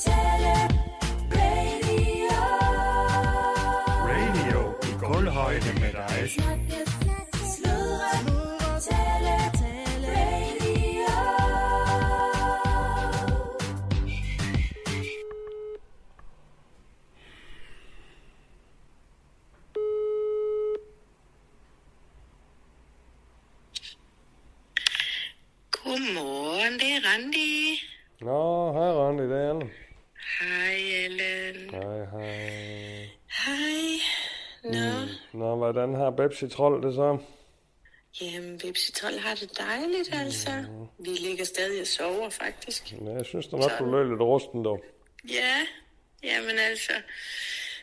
tale, radio. Radio i gulvhøjde med dig. Snakke, sludre, tale, tale, radio. Godmorgen, det er Randi. Nå, hej Randi, det er Anne. Hej, Ellen. Hej, hej. Hej. Nå, mm. Nå, hvordan har Bebsi Trold det så? jamen, Vipsi 12 har det dejligt, altså. Vi ligger stadig og sover, faktisk. Ja, jeg synes da nok, du lød lidt rusten, dog. Ja, jamen altså,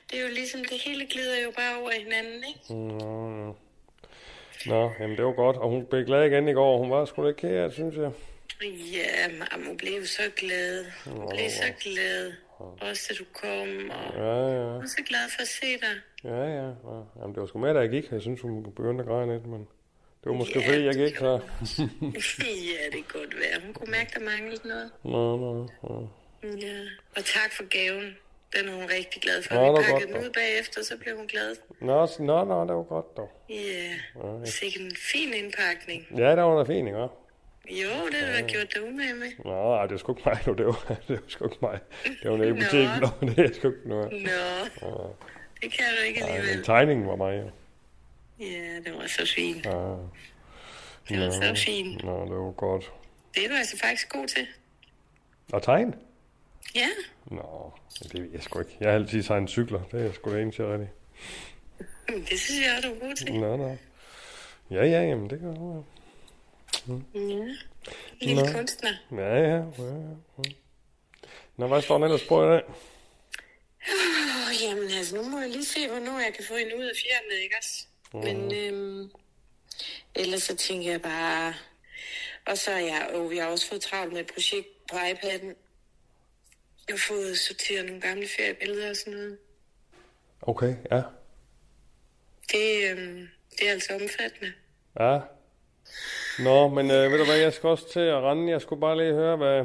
det er jo ligesom, det hele glider jo bare over hinanden, ikke? Nå, ja. Mm. Nå, jamen det var godt. Og hun blev glad igen i går. Hun var sgu lidt kære, synes jeg. Ja, men hun blev jo så glad. Hun blev så glad. Også da du kom, og Ja, ja, hun er så glad for at se dig. ja, ja. ja. Jamen det var sgu med, da jeg gik. Jeg synes, hun begyndte at græde lidt, men det var måske Ja, fordi, jeg det gik så. ja, det kan godt være. Hun kunne mærke, der manglede noget. Nå, nå, nå. Ja, øh, og tak for gaven. Den er hun rigtig glad for. Nå, det Nå, var Vi pakkede godt, den da. ud bagefter, så blev hun glad. Nå, s- nå, nå, det var godt, dog. Ja, sikkert en fin indpakning. Ja, det var da fint, ikke? Jo, det har du da gjort dig umage med. Nå, ej, det var sgu ikke mig, du. Det var, det var sgu ikke mig. Det var nede i butikken, Nå. og det er sgu ikke noget. Nå, det kan du ikke Ej, men alligevel. tegningen var mig, jo. Ja, det var så fint. Ja. Det var så fint. Nå, det var godt. Det er du altså faktisk god til. Og tegn? Ja, Nå, det ved jeg sgu ikke. Jeg har altid tegnet cykler. Det er sgu det eneste, jeg er rigtig. Mm, det synes jeg også, du er god til. Nå, nå. Ja, ja, jamen det kan jeg. Ja. Lille Nå. kunstner. Ja, ja, ja, ja. Nå, hvad står den ellers på i dag? Åh, jamen altså, nu må jeg lige se, hvornår jeg kan få en ud af fjernet, ikke også? Men øhm, ellers så tænker jeg bare... Og så er jeg, og vi har også fået travlt med et projekt på iPad'en. Jeg har fået sorteret nogle gamle feriebilleder og sådan noget. Okay, ja. Det, øhm, det er altså omfattende. Ja. Nå, men øh, ved du hvad, jeg skal også til at rende. Jeg skulle bare lige høre, hvad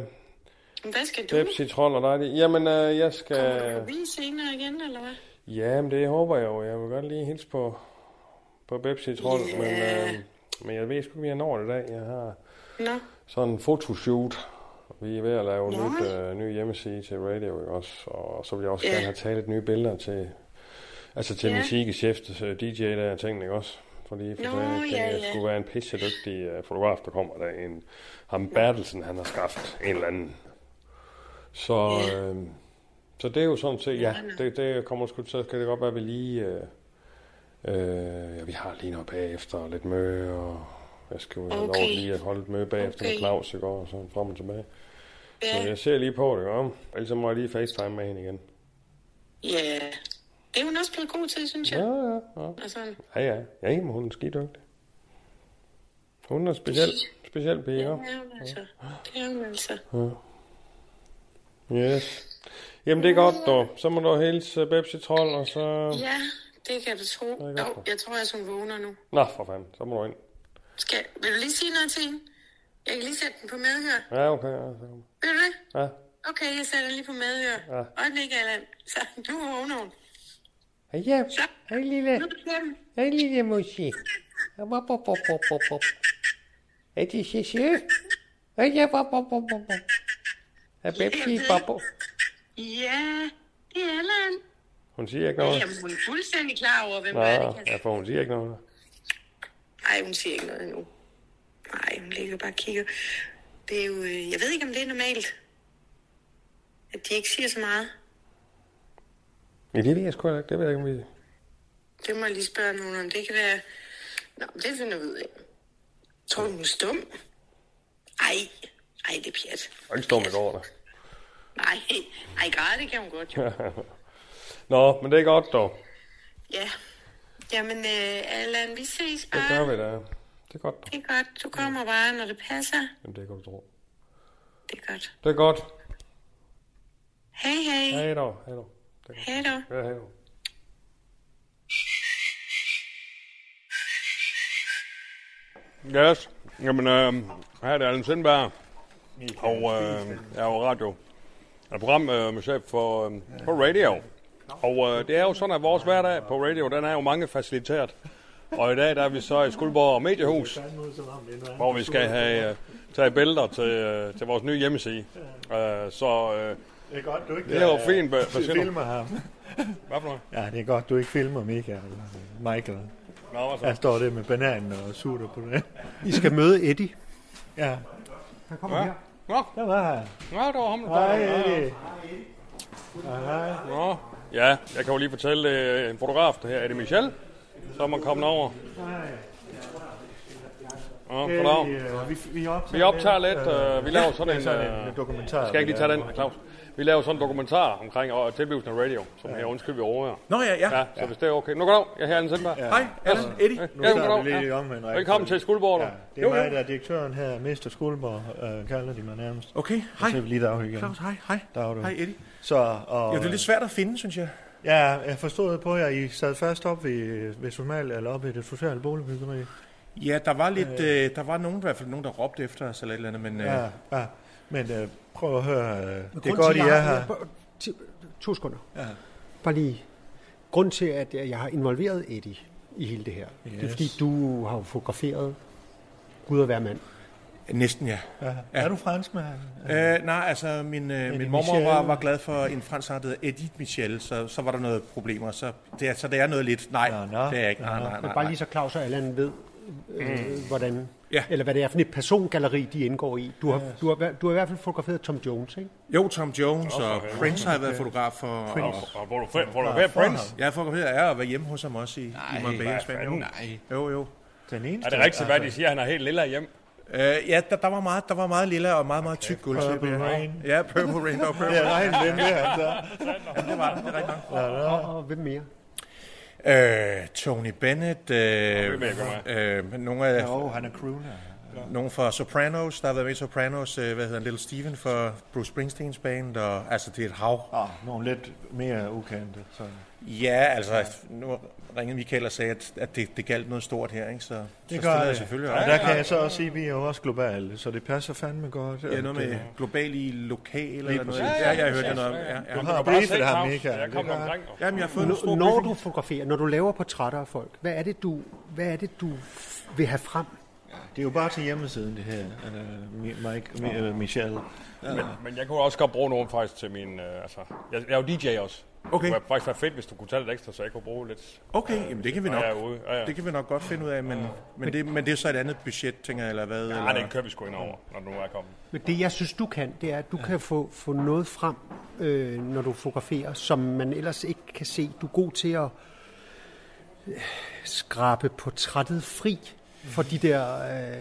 Men hvad skal du? Pepsi Troll og dig... de- Jamen, øh, jeg Kommer du skal... forbi senere igen, eller hvad? Ja, men det håber jeg jo. Jeg vil godt lige hilse på, på Pepsi Troll, Ja. men, øh, men jeg ved sgu ikke, om jeg når det i dag. Jeg har... Nå, sådan en fotoshoot. Vi er ved at lave Nå. en nyt, øh, ny hjemmeside til radio ikke også, og så vil jeg også Ja. gerne have taget lidt nye billeder til, altså til Ja. min chef, DJ der og tingene, ikke også? Fordi for Nå, sagde, at det ja, ja. skulle være en pissedygtig øh, fotograf, der kommer der. En, ham Bertelsen, han har skaffet en eller anden. Så, Ja. øh, så det er jo sådan set, ja, Nå, nå. det, det kommer sgu til, så kan det godt være, at vi lige... Øh, Øh, ja, vi har lige noget bagefter og lidt møde, og jeg skal jo okay. Okay. over lige at holde et møde bagefter okay. Okay. med Claus i går, og så frem og tilbage. Så ja. jeg ser lige på det, om. Ellers så må jeg lige facetime med hende igen. ja. Øh, Det er hun også blevet god til, synes jeg. Ja, ja, ja. Og sådan. Ja, ja. Ja, jamen, hun er skidygtig. Hun er speciel, speciel pige, Ja, ja. det er hun altså. Det er hun altså. Yes. Jamen, det er godt, dog. Så må du hilse Bebsi Troll, og så... Ja, det kan du tro. godt Jo, for. jeg tror også, hun vågner nu. Nå, for fanden, så må du ind. Skal, vil du lige sige noget til hende? Jeg kan lige sætte den på medhør. Ja, okay, ja, så kom. Vil du det? Ah, Ja, Okay, jeg sætter den lige på medhør. Ja. Øjeblik, Allan. Så nu vågner hun. Hej hjem. Så, Hej lille. nu bliver den. Hej lille Ah, musi. Hop, hop, hop, hop, hop, hop. Er det så sødt? Hej hjem, hop, hop, hop, hop, hop. Er Pepsi, papo? Ja, det er Allan. hun siger ikke noget. Jamen, hun er fuldstændig klar over, hvem Nå, er det kan. ja, for hun siger ikke noget. Nej, hun siger ikke noget endnu. Nej, hun ligger bare og kigger. Det er jo, øh, jeg ved ikke, om det er normalt, at de ikke siger så meget. Ja, det ved jeg sgu heller ikke. Det ved jeg ikke, om vi... Det må jeg lige spørge nogen om. Det kan være... Nå, men det finder vi ud af. Tror du, hun er stum? Ej, ej, det er pjat. Og ikke står med gården. Nej, ej, græde, det kan hun godt jo. Nå, men det er godt dog. Ja. Jamen, øh, Allan, vi ses Det gør bare. vi da. Det er godt dog. Det er godt. Du kommer bare, når det passer. Jamen, det kan du tro. Det er godt. Det er godt. Hej, hej. Hej dog. Hej dog. Det er godt. Hej dog. Ja, hej dog. Yes. Jamen, øh, her er det Allen Sindberg. Og øh, jeg er jo radio. Et program øh, med chef for, øh, på radio. Og øh, det er jo sådan, at vores hverdag på radio, den er jo mange faciliteret. Og i dag der er vi så i Skuldborg Mediehus, hvor vi skal have øh, tage billeder til, øh, til vores nye hjemmeside. Øh, så øh, Det er godt, du ikke Det er jo fint, hvad- hvad siger du? filmer ham. hvad for noget? Ja, det er godt, du ikke filmer Michael. Michael. Nå, hvad så? Jeg står der med bananen og sutter på det. I skal møde Eddie. Ja, Nå, der var han. nå, det var ham, der Hej, Ja, ja. Eddie. Hej. Nå, ja, jeg kan jo lige fortælle øh, en fotograf, der her er det Michel, som er kommet over. Nå, goddag. Hey, øh, vi, vi optager, Vi optager lidt, øh, vi laver sådan en, sådan øh, en dokumentar. Skal jeg ikke lige tage den, Claus? Vi laver sådan en dokumentar omkring og tilblivelsen af radio, som her undskyld vi overhører. Nå ja, ja. Ja, så hvis det er okay. Nu goddag, jeg er her, Anne Sindberg. Ja. Hej, Allan, Eddie. Nu Ja, tager vi goddag, lige ja. om, Henrik. Velkommen til Skuldborg. Ja, det er mig, der er direktøren her, Mester Skuldborg, øh, kalder de mig nærmest. Okay, Så hej. er vi lige dag igen. Claus, hej, hej. Der er du. Hej, Eddie. Så, og, Ja, det er lidt svært at finde, synes jeg. ja, jeg forstod på jer, I sad først op ved, ved Somalia, eller op ved det sociale boligbyggeri. Ja, der var lidt, øh, der var nogen, i hvert fald nogen, der råbte efter os eller et eller andet, men øh, Ja, ja. Men øh, prøv at høre, øh, det er Grunden godt, I til, er jeg har- her. jeg- til- To sekunder. Ja. Bare lige. Grunden til, at jeg har involveret Eddie i hele det her, yes. det er Yes. fordi, du har jo fotograferet Gud og hver mand. næsten ja. Ja. Er du franskmand? Øh, nej, altså min, øh, min mormor Michel. var, var glad for en fransk sang, der hedder Edith Michel, så, så var der noget problemer. Så det, er, så det er noget lidt, nej, Nå, nå, nå. nå, det er ikke, nej, nej, Men nej, bare nej. lige så Claus og Allan ved, øh, hvordan, Ja. eller hvad det er for et persongalleri, de indgår i. Du har, du har, hver- du har i hvert fald fotograferet Tom Jones, ikke? Jo, Tom Jones og Prince har jeg været fotograf for. Prince. Og, Og hvor du fem, hvor du fem, Prince. jeg er fotograferet af at være hjemme hos ham også i, i Montbellas Nej. Jo, jo. Den eneste. Er det rigtigt, hvad de siger? Han er helt lille hjem. Øh, ja, der, der, var meget, der var meget lilla og meget, meget tyk gulv. Purple Rain. Ja, Purple Rain. Der var Purple Ja, Rain. regn den der, altså. Jamen, det var det, det er rigtigt nok. Og, og hvem mere? Øh, Tony Bennett. Øh, ved jeg godt, øh, nogle, af, Jo, han er crooner. nogle fra Sopranos, der har været med i Sopranos. Øh, hvad hedder han? Little Steven fra Bruce Springsteens band. Og, altså, det er et hav. Ah, nogle lidt mere ukendte. Sådan. Ja, altså, nu ringede Michael og sagde, at, at det, det galt noget stort her, ikke? Så, det så Det stiller gør jeg det. selvfølgelig Og op. der kan jeg så også sige, at vi er jo også globale, så det passer fandme godt. Ja, at, noget med øh, global i lokal eller noget. præcis. Ja, jeg hørte noget om. Ja, Du ja. har Bare briefet se, ham, Claus. Michael. Jeg kom Det har- omkring. Jamen, jeg har fået en Når, stor når briefing. du fotograferer, når du laver portrætter af folk, hvad er det, du, hvad er det, du f- vil have frem? Det er jo bare til hjemmesiden, det her. øh, Mi- Mike, Mi- øh, Michel. Men, men jeg kunne også godt bruge nogen faktisk til min... Øh, altså, jeg, jeg er jo DJ også. Okay. Det kunne faktisk være fedt, hvis du kunne tage lidt ekstra, så jeg kunne bruge lidt. Okay, jamen, det kan vi Når nok. jeg er ude. Ja, ja. Det kan vi nok godt finde ud af, men, men, det, men det er så et andet budget, tænker jeg, eller hvad? Nej, eller? den kører vi sgu ind over, når du nu er kommet. Men det, jeg synes, du kan, det er, at du kan få, få noget frem, øh, når du fotograferer, som man ellers ikke kan se. Du er god til at øh, skrabe portrættet fri for de der øh,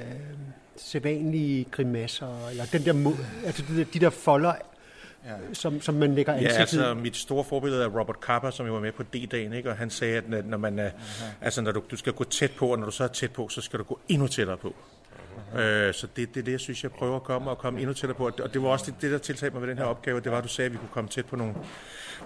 sædvanlige grimasser, eller den der mo- altså de der, de der folder, som, som man lægger Ja, ansigtet altså i. mit store forbillede er Robert Capa, som jo var med på D-dagen, ikke? og han sagde, at når- når, man er, altså, når du, du skal gå tæt på, og når du så er tæt på, så skal du gå endnu tættere på. Øh, så det er det, er det, jeg synes, jeg prøver at komme og komme endnu tættere på. Og det- Og det var også det, det der tiltagte mig ved den her opgave, det var, at du sagde, at vi kunne komme tæt på nogle,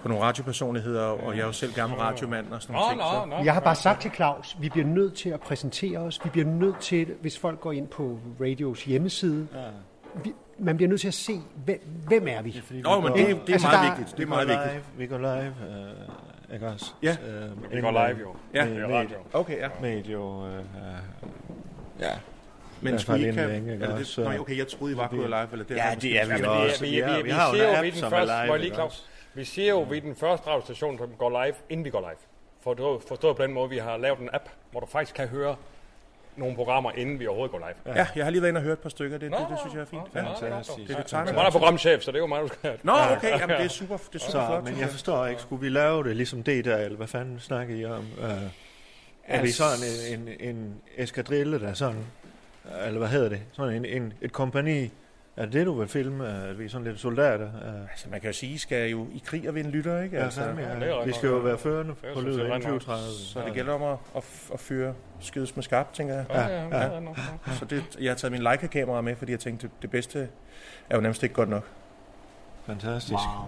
på nogle radiopersonligheder, og jeg er jo selv gammel radiomand og sådan Nå, noget. nå, nå. Jeg har altså. bare sagt til Claus, vi bliver nødt til at præsentere os. Vi bliver nødt til, hvis folk går ind på radios hjemmeside, vi, man bliver nødt til at se, hvem, hvem er vi? Nå, men det, det er Altså, meget der- vigtigt. Det er meget vi går vigtigt. Live, vi går live, øh, ikke også? Ja. Øh, Vi går live jo. Ja. det er Med- radio. Okay, ja. Med jo... Øh, øh, Men Ja, skulle I ikke fra Lindvang, have... ikke Eller det, også? nej, okay, jeg troede, I var gået live. Eller det Ja, det er vi Ja, men også. det, vi, vi, Vi har- vi, vi vi, har jo en siger jo, app, vi er den som er første, live, må jeg lige, ikke Claus, vi siger jo, vi er den første radiostation, som går live, inden vi går live. Forstået, forstået på den måde, vi har lavet en app, hvor du faktisk kan høre nogle programmer, inden vi overhovedet går live. Ja. Ja, jeg har lige været inde og hørt et par stykker. Det, det, Nå, det synes jeg er fint. nå, Ja. nå, det er godt, Det er det tegner. Man er programchef, så det er jo mig, du skal Nå, okay, jamen, det er super, det er super så, flot. men synes jeg forstår ikke, skulle vi lave det ligesom det der, eller hvad fanden snakker I om? Øh, er vi Altså- sådan en, en, en eskadrille, der er sådan, eller hvad hedder det? Sådan en, en, et kompani, er det det, du vil filme? Øh, At vi er sådan lidt soldater? Øh, Altså, man kan jo sige, I skal jo i krig og vinde lytter, ikke? Ja, Altså, fandme, det er ja. ret Vi skal jo nok, ja. være førende er på sådan set lyder ret inden nok. 2030. så det gælder om at, at, at fyre skydes med skarpt, tænker jeg. Ja, ja, ja, ja. Så det, jeg har taget min Leica-kamera med, fordi jeg tænkte, det, det bedste er jo nærmest ikke godt nok. Fantastisk. Wow.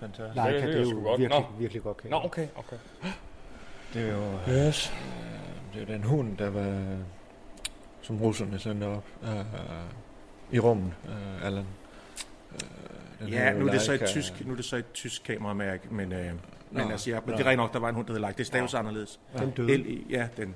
Fantastisk. Nej, det kan lyder det er jo sgu godt. virkelig, Nå. virkelig godt. Kan. Nå, okay, okay. Det er jo, øh, Yes. det er jo den hund, der var som russerne sendte op øh, i rummet, øh, Allan. Øh, den Ja, her nu er det så et Leica- tysk, nu er det så et tysk kameramærke, men, øh, men Nå, altså, ja, men nå. det er rent nok, der var en hund, der hed Like. Det staves anderledes. Den døde. L-E, ja, den, den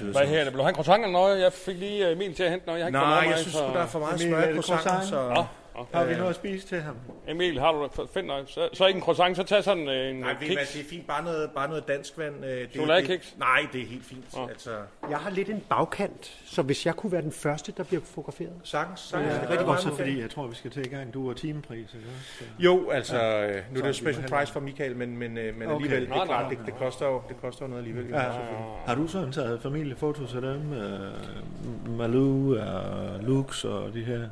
døde. Hvad så. her? Det blev han croissant eller noget? Jeg fik lige øh, min til at hente noget. Jeg har ikke fået Nej, noget jeg med, synes så- sgu, der er for meget Emil, er smør det på croissant, croissant? så... Nå, nå. Har vi noget at spise til ham? Emil, har du det? Find noget. Så, så ikke en croissant, så tag sådan øh, en Nej, Nej, ved I hvad, kiks. det er fint. Bare noget, bare noget dansk vand. øh, det- Chokoladekiks? det- Nej, det er helt fint. Altså, Jeg har lidt en bagkant, så hvis jeg kunne være den første, der bliver fotograferet. sagtens, sagtens. Der Ja, det er mange rigtig godt, så fag. fordi jeg tror, vi skal til i gang. Du er timepris, ikke også? Så- Jo, altså, øh, nu er det jo vi må special hellere- price for Michael, men, men, øh, men alligevel, det Nå, er nå, klart, det, det, koster jo, det koster jo noget alligevel. Ja. Har du sådan taget familiefotos af dem? Uh, Malou og Lux og de her? Det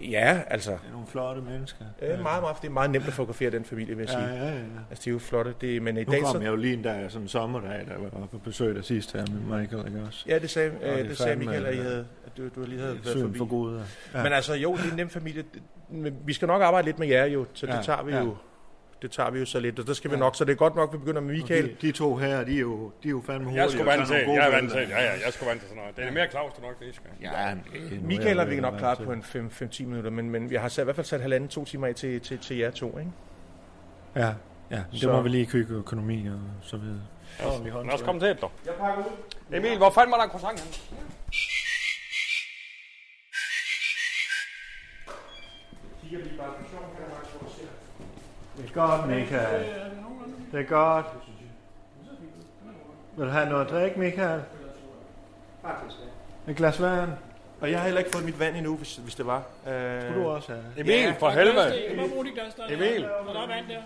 Ja, ja altså, er nogle flotte mennesker. øh, meget, meget, det er meget nemt at fotografere den familie, vil jeg Ja, sige. ja, ja. Altså, de er jo flotte, det, men i Nu dag kom så... jeg jo lige en dag, sådan en sommerdag, der var på besøg der sidste her med Michael, ikke også? Ja, det sagde, øh, det er det, sagde fandme, Michael, at, I øh, havde, at du, du lige havde været Søen forbi. for gode. Ja. Men altså, jo, det er en nem familie. Men Vi skal nok arbejde lidt med jer jo, så det Ja, tager vi ja. jo. Det tager vi jo så lidt, og der skal vi nok. Så det er godt nok, vi begynder med Michael. De, de to her, de er jo, de er jo fandme hurtige. Jeg skulle vant og til, tager nogle jeg er gode vant til, billeder. ja, ja, jeg skulle vant til sådan noget. Det er mere Claus, du nok det skal. Ja, men, øh, Michael nu har er vi jeg nok vant klaret til. på en 5-10 minutter, men, men jeg har sat, i hvert fald sat halvanden to timer af til, til, til jer to, ikke? Ja, ja. Det Så- må vi lige kigge økonomi og så videre. Lad os komme til et, dog. Jeg pakker ud. Emil, hvor fanden var der en croissant henne? Det er godt, Michael. Det er godt. Vil du have noget at drikke, Michael? Et glas vand. Og jeg har heller ikke fået mit vand endnu, hvis, hvis det var. Øh, Vil du også have? Emil, for helvede. Emil. Der er vand der.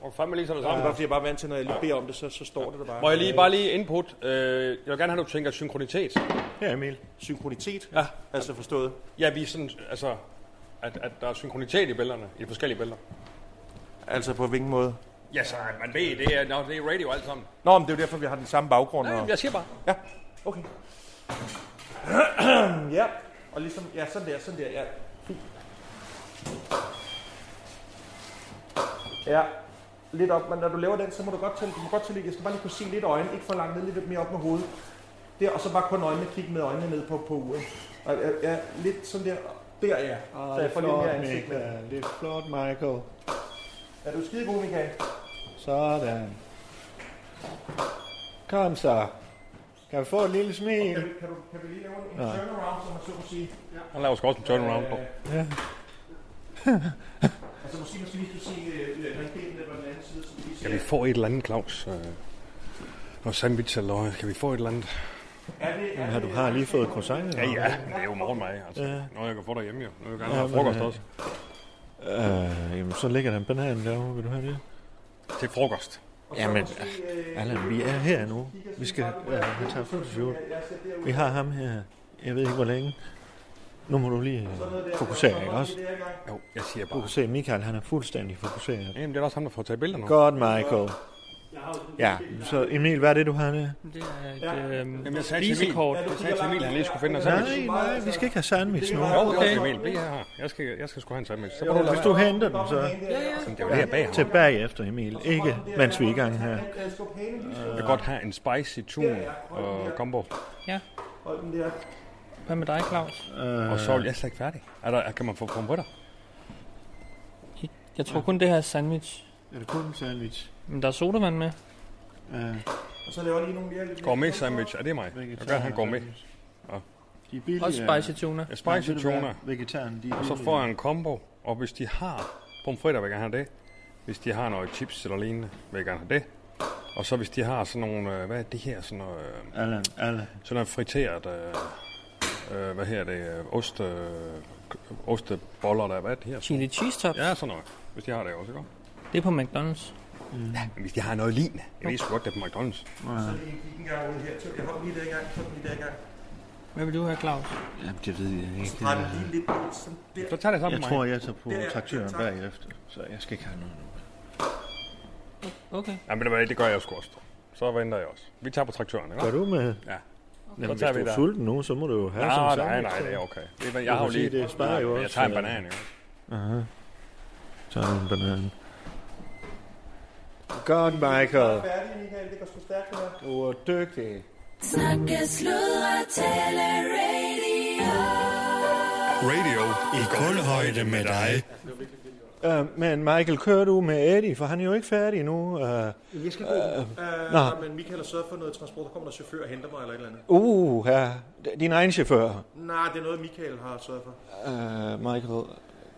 Hvor fanden lige så det Det er samme? bare, fordi jeg bare er vant til, når jeg lige beder om det, så, så står det der bare. Må jeg lige bare lige input? Øh, jeg vil gerne have, at du tænker synkronitet. Her, Emil. Synkronitet, Ja. altså forstået. Ja, vi er sådan, altså, at, at der er synkronitet i billederne, i de forskellige billeder. Altså på hvilken måde. Ja, så man ved, det er, no, det er radio alt sammen. Nå, men det er jo derfor, vi har den samme baggrund. Nej, og... jeg siger bare. Ja, okay. ja, og ligesom, ja, sådan der, sådan der, ja. Fint. Ja, lidt op, men når du laver den, så må du godt tælle, du må godt tælle, jeg skal bare lige kunne se lidt øjnene, ikke for langt ned, lidt mere op med hovedet. Der, og så bare kun øjnene, kigge med øjnene ned på, på uret. Og, ja, ja, lidt sådan der, der ja, Ah, så jeg får lidt mere ansigt med. Michael. Det er flot, Michael. Er du skide god, Michael? Sådan. Kom så. Kan vi få et lille Kan, smil? kan, du, kan vi lige lave en, en turnaround, som man så må sige? Han laver sgu også en turnaround på. Altså måske man skal lige kunne se øh, øh, halvdelen på den anden side, som lige Kan vi få et eller andet, Claus? Øh, noget sandwich eller noget? Kan vi få et eller andet? Er det, er Ja, du har lige fået croissant. Ja, ja, men det er jo morgen mig. Altså. Ja. Noget, jeg kan få derhjemme jo. Nu vil jeg gerne have Ja, frokost men, øh, også. Øh, jamen, så ligger der en banan derovre. Vil du have det? Til frokost. Jamen, øh, øh, Allan, vi er her nu. Vi skal øh, have taget fotoshoot. Vi har ham her. Jeg ved ikke, hvor længe. Nu må du lige øh, fokusere, ikke også? Jo, jeg siger Du kan bare. se, Michael, han er fuldstændig fokuseret. Jamen, det er da også ham, der får taget billeder nu. Godt, Michael. Ja, så Emil, hvad er det, du har der? Det er et øhm, Jamen, jeg sagde til Emil, visekort. jeg sagde til Emil, han lige skulle finde en sandwich. Nej, nej, vi skal ikke have sandwich nu. Jo, okay. Emil, det er her. Jeg skal, jeg skal sgu have en sandwich. Så må du Hvis du henter den, så Jamen, det er jo det her bag ham. tilbage efter Emil. Ikke, mens vi er i gang her. Jeg kan godt have en spicy tun og combo. Ja. Hvad med dig, Claus? Øh. Og så er jeg slet ikke færdig. Er der, kan man få pomfritter? Jeg tror kun, det her er sandwich. Er det kun en sandwich? Men der er sodavand med. Gourmet sandwich, er det mig? Jeg gør, han går med. De er Og spicy tuna. Jeg spicy tuna, Vegetaren, de er og så får jeg en combo. Og hvis de har pomfritter, vil jeg gerne have det. Hvis de har noget chips eller lignende, vil jeg gerne have det. Og så hvis de har sådan nogle, øh, hvad er det her, sådan noget, øh, Allan, Allan. sådan noget friteret, øh, øh, hvad her det, øh, ost, øh, osteboller, der hvad er det her? Chili cheese tops. Ja, sådan noget. Hvis de har det også, ikke? Det er på McDonald's. Mm. Men hvis de har noget lignende, jeg ved sgu godt, det er på McDonald's. Jeg holder lige der i gang, så lige der i gang. Hvad vil du have, Claus? Jamen, det ved jeg ikke. Drej den lige lidt ud, sådan der. Så tager det sammen Jeg med tror, mig. jeg tager på Det er- traktøren tak. bagefter, så jeg skal ikke have noget nu. Okay. Jamen, det, det gør jeg sgu også. Så venter jeg også. Vi tager på traktøren, ikke? Gør du med? Ja. Jamen, hvis du tager vi er der. sulten nu, så må du jo have Nej, sådan en nej, sandwich, nej, så. det er okay. Det er, hvad- Du jeg har jo kan sige, lige... det sparer jo Men også. Jeg tager øh, en banan, jo. Aha. Så er en banan. Godt, Michael. Færdig, Michael, det går sgu stærkt det her. Du er dygtig. Snakke, sludre, tale, radio. Radio i kulhøjde med dig. Uh, men Michael, kører du med Eddie? For han er jo ikke færdig nu. Uh, Jeg skal gå. Øh, Øh, nå. nej, men Michael har sørget for noget transport. Der kommer der chauffør og henter mig eller et eller andet. uh ja, din egen chauffør. Nej, det er noget, Michael har sørget for. Uh, Michael,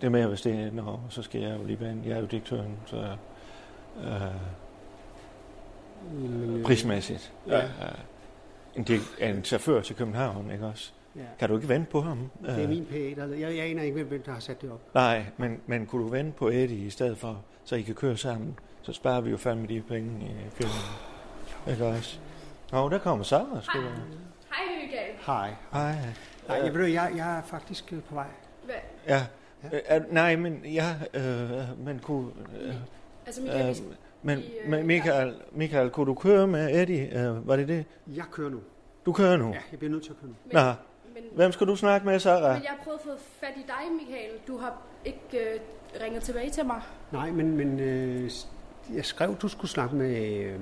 det er med, hvis det er... Nå, så skal jeg jo lige bane. Jeg er jo direktøren, så... øh, Uh, prismæssigt. Ja. Øh, en, direk- en chauffør til København, ikke også? Ja. Kan du ikke vente på ham? Det er Øh, min PA, der leder. Jeg, jeg aner ikke, hvem der har sat det op. Nej, men, men kunne du vente på Eddie i stedet for, så I kan køre sammen? Så sparer vi jo fandme de penge i filmen. Ikke også? Nå, der kommer Sara, sgu da. Hej Michael. Hej. Hej. Øh. Nej, jeg, ved, du, jeg, jeg er faktisk øh, på vej. Hvad? Ja. Øh, er- nej, men ja, øh, men kunne... Øh, Altså, Michael, vi øh, skal- men, vi, øh, men Michael, Michael, kunne du køre med Eddie? Øh, var det det? Jeg kører nu. Du kører nu? Ja, jeg bliver nødt til at køre nu. Nå, men- hvem skal du snakke med, Sara? Men jeg har prøvet at få fat i dig, Michael. Du har ikke øh, ringet tilbage til mig. Nej, men, men øh, jeg skrev, du skulle snakke med, øh,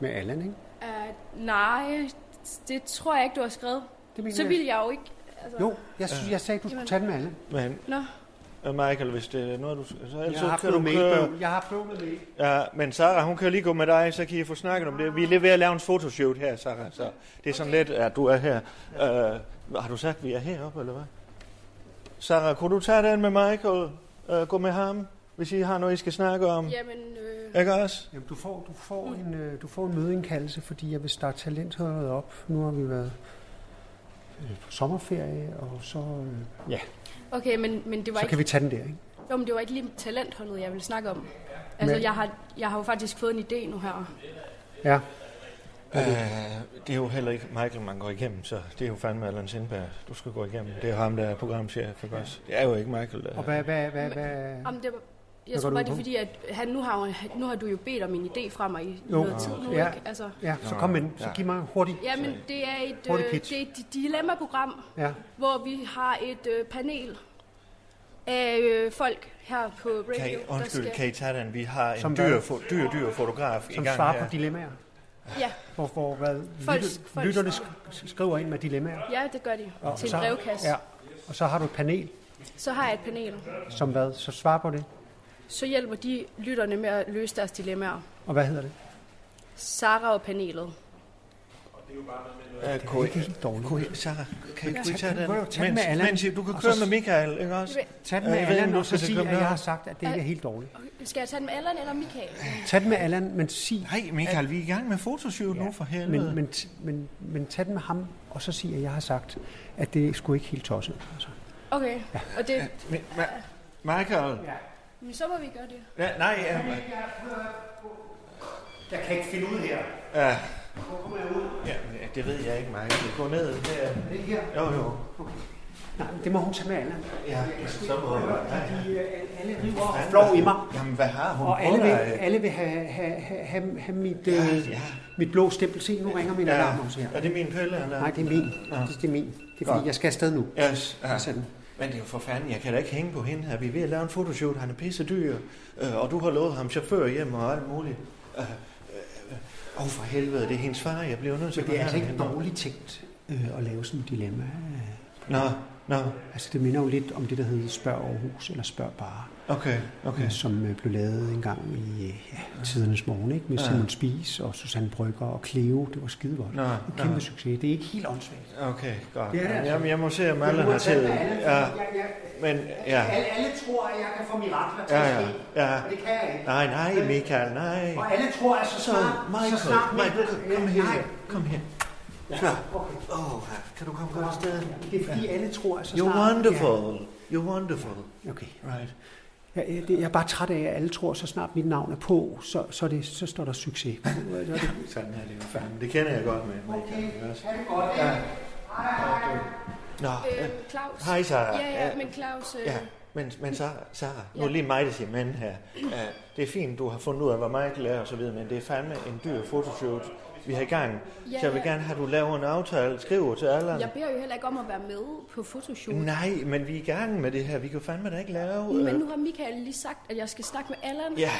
med Allan, ikke? Uh, nej, det tror jeg ikke, du har skrevet. Det mener Så jeg. ville jeg jo ikke... Altså, Jo, jeg, synes, Ja. jeg sagde, du skulle tage den med Allan. Men, Nå. øh, Michael, hvis det er noget, du... Så, Jeg ellers har så kan fået du køre... mail. Jeg har fået mail. Ja, men Sara, hun kan jo lige gå med dig, så kan I få snakket om det. Vi er lige ved at lave en fotoshoot her, Sara, så det er sådan lidt, at du er her. Uh, har du sagt, at vi er heroppe, eller hvad? Sara, kunne du tage den med Michael? Uh, gå med ham, hvis I har noget, I skal snakke om? Jamen, øh, Ikke også? Jamen, du får, du får en, øh, du får en mødeindkaldelse, fordi jeg vil starte talentholdet op. Nu har vi været øh, på sommerferie, og så, øh, ja, okay, men, men det var så ikke... kan vi tage den der, ikke? Jo, men det var ikke lige talentholdet, jeg ville snakke om. Altså, Men- jeg, har, jeg har jo faktisk fået en idé nu her. Ja. Uh, det er jo heller ikke Michael, man går igennem, så det er jo fandme Allan Sindberg, du skal gå igennem. Det er ham, der er programchef, ikke også? Det er jo ikke Michael. Der... Og hvad, hvad, hvad, hvad, Om det var, går jeg tror du bare, ud det er på? fordi, at han, nu, har, jo- nu har du jo bedt om en idé fra mig i Jo. noget tid nu, Ja. ikke? Altså, Ja, så kom med den. Så giv mig hurtigt. Ja, men det er et, Hurtig øh, pitch. det er et dilemma-program, Ja. hvor vi har et øh, panel af øh, folk her på radio. Kan I, der undskyld, skal- kan I tage den? Vi har en Som dyr, hvad? fo- dyr, dyr fotograf i Som gang svarer her. på dilemmaer. Ja, Hvor, hvor hvad, Folk- lytter, folk- lytterne sk- skriver ind med dilemmaer. ja, det gør de. til en brevkasse. Ja, og så har du et panel, Så har jeg et panel. som hvad? Så svar på det. Så hjælper de lytterne med at løse deres dilemmaer. Og hvad hedder det? Sara og panelet. Ja, E. kunne ikke helt dårligt. Kunne I, Sarah, kan I, Ja, kunne I tag tage den. den? Prøv at tage den Mens- med Allan. Mens I, du kan Og køre så- med Michael, ikke også? Tag den Øh, med jeg ved ikke, Allan, om du og så skal til sig, at København. jeg har sagt, at det ikke er helt dårligt. Okay, Skal jeg tage den med Allan eller Michael? Tag den med Allan, men sig... Nej, Michael, vi er i gang med fotoshoot nu for helvede. Men, men, t- men, men tag den med ham, og så sig, at jeg har sagt, at det skulle ikke helt tosset. Altså. Okay, og det, Men, ma- Michael? men så må vi gøre det. Ja, nej, ja. Jeg kan ikke finde ud her. ja. Ja, men det ved jeg ikke, Michael. Gå ned her. Det her? Jo, jo. Nej, men det må hun tage med Allan. Ja, så må jeg. De, øh, alle river og flår i mig. Jamen, hvad har hun Og på alle vil, dig? alle vil have, have, have, have, have mit, øh, mit blå stempel. Se, nu ringer min Ja. alarm også her. Er det min pille, eller? Nej, det er min. Det, det er min. Det er Nå. fordi, jeg skal afsted nu. Yes, ja. Sådan. Men det er jo for fanden, jeg kan da ikke hænge på hende her. Vi er ved at lave en fotoshoot, han er pisse dyr, øh, og du har lovet ham chauffør hjem og alt muligt. Åh, øh, øh, oh, for helvede, det er hendes far, jeg bliver nødt til Men det er altså ikke hende. dårligt tænkt øh, at lave sådan et dilemma. øh. Nå, nå, Altså, det minder jo lidt om det, der hedder Spørg Aarhus, eller Spørg Bare, okay, okay. øh, som øh, blev lavet engang i øh, ja, tidernes morgen, ikke? Med Ja. Simon Spies og Susanne Brygger og Cleo. Det var skide godt. Nå, En nå. kæmpe succes. Det er ikke helt åndssvagt. Okay, godt. Det er det altså. Jamen, jeg må se, om Men alle du må har tage tid. med alle, Ja, fordi jeg- jeg- men ja. alle tror, at jeg kan få mirakler Ja, ja, ja. og det kan jeg ikke. Nej, nej, Michael, nej. Og alle tror, at så Så, snart... så Michael, snart Michael, kom her, Nej, kom her. ja, okay. oh, Åh, kan du komme godt afsted? Det er fordi, alle tror, at så snart... You're wonderful, you're wonderful. Ja, okay. Right. Jeg, jeg, det, jeg er bare træt af, at alle tror, så snart mit navn er på, så, så, er det, så står der succes. på. Og så er det- Sådan er det jo fandme. Det kender jeg godt med. Okay, også. Nå, Øh, Claus. Hej, Sara. Øh, Ja, ja, men Claus, øh, ja. Men, men Sarah, Sarah, nu er det lige mig, der siger men her. Uh, det er fint, du har fundet ud af, hvor meget du lærer og så videre, men det er fandme en dyr fotoshoot, vi har i gang. Ja, så jeg vil ja. gerne have, at du laver en aftale, skriver til Allan. Jeg beder jo heller ikke om at være med på fotoshoot. Nej, men vi er i gang med det her. Vi kan fandme da ikke lave... Men øh, nu har Michael lige sagt, at jeg skal snakke med Allan. Ja,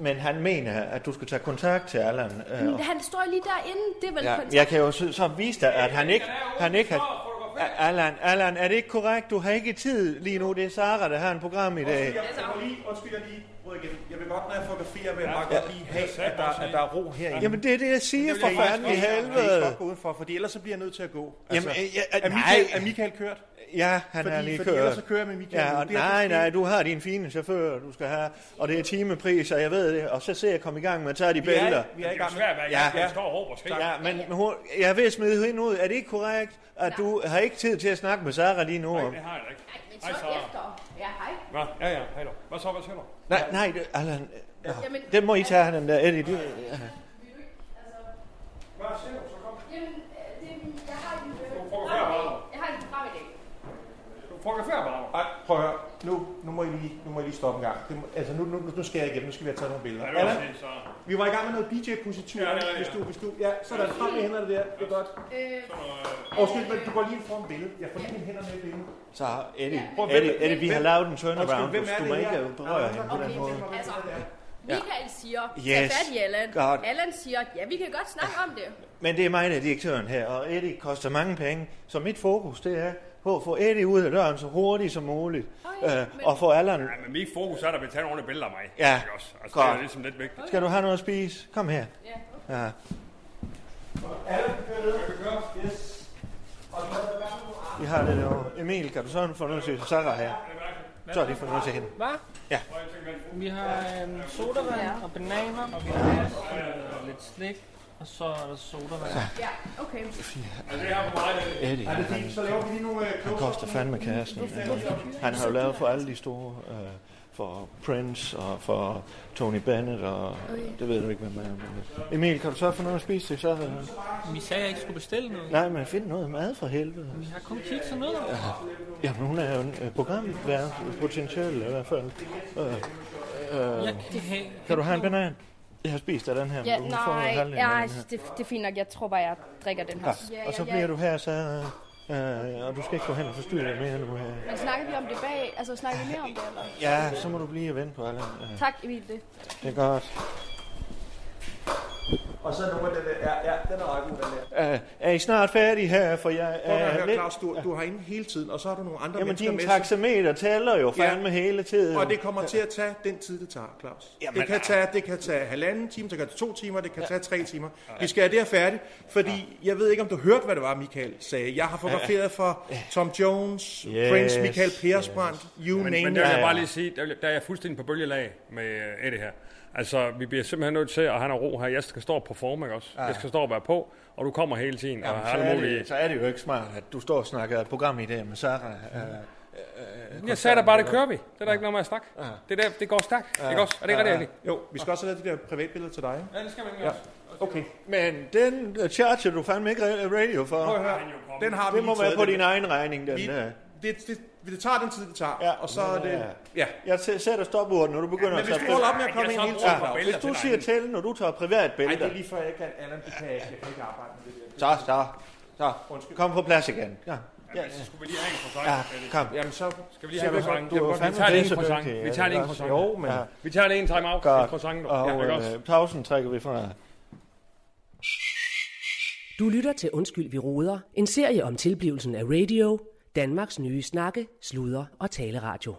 men han mener, at du skal tage kontakt til Allan. øh, Men han står lige derinde, det er vel Ja, kontakt. jeg kan jo så, så vise dig, at han ikke, han ikke har... A- Allan, Allan, er det ikke korrekt? Du har ikke tid lige nu. Det er Sara, der har en program i dag. jeg, jeg må lige, undskyld, jeg lige bryder igen. Jeg vil godt, når jeg fotograferer, vil jeg bare godt lige have, at der, at der er ro herinde. Jamen, det er det, jeg siger, vil for jeg faktisk fanden i godt- Jeg vil helvede. ikke godt gå udenfor, fordi ellers så bliver jeg nødt til at gå. Altså, Jamen, øh, ja, øh, er, Michael, er Michael kørt? Ja, han fordi, er lige fordi kørt. ellers så kører jeg med Michael. Ja, nu. og Det er altså- nej, fordi- nej, du har din fine chauffør, du skal have. Og det er timepris, og jeg ved det. Og så ser jeg komme i gang med at tage Vi de er, billeder. vi er i gang med... Ja. Ja. står og råber skæg. Ja, men hun, jeg er ved at smide hende ud. Er det ikke korrekt, at du har ikke tid til at snakke med Sara lige nu? om- Det har jeg da ikke. Men Hej, så Sara. efter. Ja, hej. Nå, ja, ja, hej dog. Hvad så, hvad siger du? Nej, nej, det, Allan. øh, nå, Jamen- Den må I tage, den der Eddie. Det, ja. Hvad siger du? Så kom. Jamen, øh, det, jeg har et øh, prøver at høre Jeg har et program i dag. Du fotograferer bare. Ej, prøv at høre. Nu, nu, må I lige, nu må I lige stoppe en gang. Det må, altså, nu, nu, nu skal jeg igennem. Nu skal vi have taget nogle billeder. Ja, det var Allan, det, så. vi var i gang med noget DJ-positivt. Ja, ja, ja. Hvis du, hvis du, ja, sådan. Frem med hænderne der. Det er godt. Øh, Og skyld, men du går lige ind foran billedet. Jeg får lige mine hænder med i billedet. Så Eddie, Prøv, hvem- Eddie, Eddie, vi har hvem- lavet en Undskyld, turnaround. hvem Du, er du det må ikke her? berøre Nå, hende på den okay, måde. hvem er det altså, der? Michael siger, tag Yes, fat i Allan. godt. Allan siger, ja, vi kan godt snakke om det. Men det er mig, der er direktøren her, og Eddie koster mange penge. Så mit fokus, det er på at få Eddie ud af døren så hurtigt som muligt. Oj, øh, men- og få Allan... Ja, men mit fokus er, at der bliver taget nogle billeder af mig. Ja, Ikke også? Altså, godt. det er ligesom lidt vigtigt. Skal du have noget at spise? Kom her. Ja. Vi har det derovre. Emil, kan du sådan få noget til Sarah her? Så har de fået noget til hende. Hvad? Ja. Vi har en sodavand og bananer, og vi har også lidt slik, og så er der sodavand. Ja, okay. Eddie, han, øh, han koster fandme kassen. øh, Han har jo lavet for alle de store, øh, for Prince og for Tony Bennett, og det ved du ikke, hvem er. men- øh. Emil, kan du så få noget at spise til så? øh, Vi sagde, at jeg ikke skulle bestille noget. Nej, men find noget mad for helvede. Vi har kun kikset ned. Jamen, hun er jo en øh, programvært, potentiel i hvert fald. Øh, Jeg kan have... kan du have en banan? Jeg har spist af den her, Ja, men du får nej, halvdelen ja, af den her. altså, det, det er fint nok. Jeg tror bare, jeg drikker den her. Ja, og så bliver du her, så... Øh, og du skal ikke gå hen og forstyrre dig mere nu her. Men snakker vi om det bag? Altså, snakker vi mere om det, eller? Ja, så må du blive og vente på alle. Øh, Tak, Emil. Det. det er godt. Og så nummer den der. Ja, ja, den er ret god, den der. Uh, er I snart færdige her, for jeg Prøv at er høre, lidt... Claus, du, du har inde hele tiden, og så har du nogle andre Øh, Jamen, mennesker din med. taxameter tæller jo fandme hele tiden. Og det kommer til at tage den tid, det tager, Claus. Jamen, det, kan tage, det kan tage halvanden time, det kan tage to timer, det kan tage tre timer. Vi skal have det her færdigt, fordi jeg ved ikke, om du hørte, hvad det var, Michael sagde. Jeg har fotograferet for Tom Jones, Yes, Prince, Michael Persbrandt, you Men, name men it. det vil Ja, jeg ja. bare lige sige, der, vil- der er jeg fuldstændig på bølgelag med øh, Eddie her. Altså, vi bliver simpelthen nødt til at have noget ro her. Jeg skal stå og performe, ikke også? Jeg skal stå og være på, og du kommer hele tiden og har så, alle er mulige... det, så er det jo ikke smart, at du står og snakker et program i dag med Sarah. Uh, Jeg sagde da bare, det kører vi. Det er der ikke noget med at snakke. Det, der, det går stærkt, ikke også? Er det ikke rigtigt, Eddie? Jo, vi skal også have lavet de der privatbilleder til dig. ikke? Ja, det skal man ikke også. Okay. men den øh, charger du fandme ikke re- radio for. Prøv at høre. Den har vi det må lige være taget, på den din der. egen regning, den Vi, der. det, det, det tager den tid, det tager. Ja, og så er men, det... øh, Ja. Jeg sæ- sætter stopordet, når du begynder Men at hvis tage du holder op med at Ej, komme jeg ind så hele bruger tiden, på Claus. billeder Hvis du til siger til, når du tager Ej, det privatbilleder, er lige før, jeg ikke kan, Allan, det kan jeg ikke. Jeg kan ikke arbejde med det der. så, så, så, kom på plads igen. Ja, ja, Så skulle vi lige have en croissant, ja, Eddie. kom. Jamen så... Skal vi lige have en croissant? Du er Jamen, fandme Vi tager lige en så croissant. dygtig, Vi ja, tager lige en det er croissant. også- Jo, men... Ja. Vi tager lige en time-out. En croissant, dog. Ja, Og ikke også? øh, pausen trækker vi fra. Du lytter til Undskyld, vi roder, en serie om tilblivelsen af radio, Danmarks nye snakke, sludre og taleradio.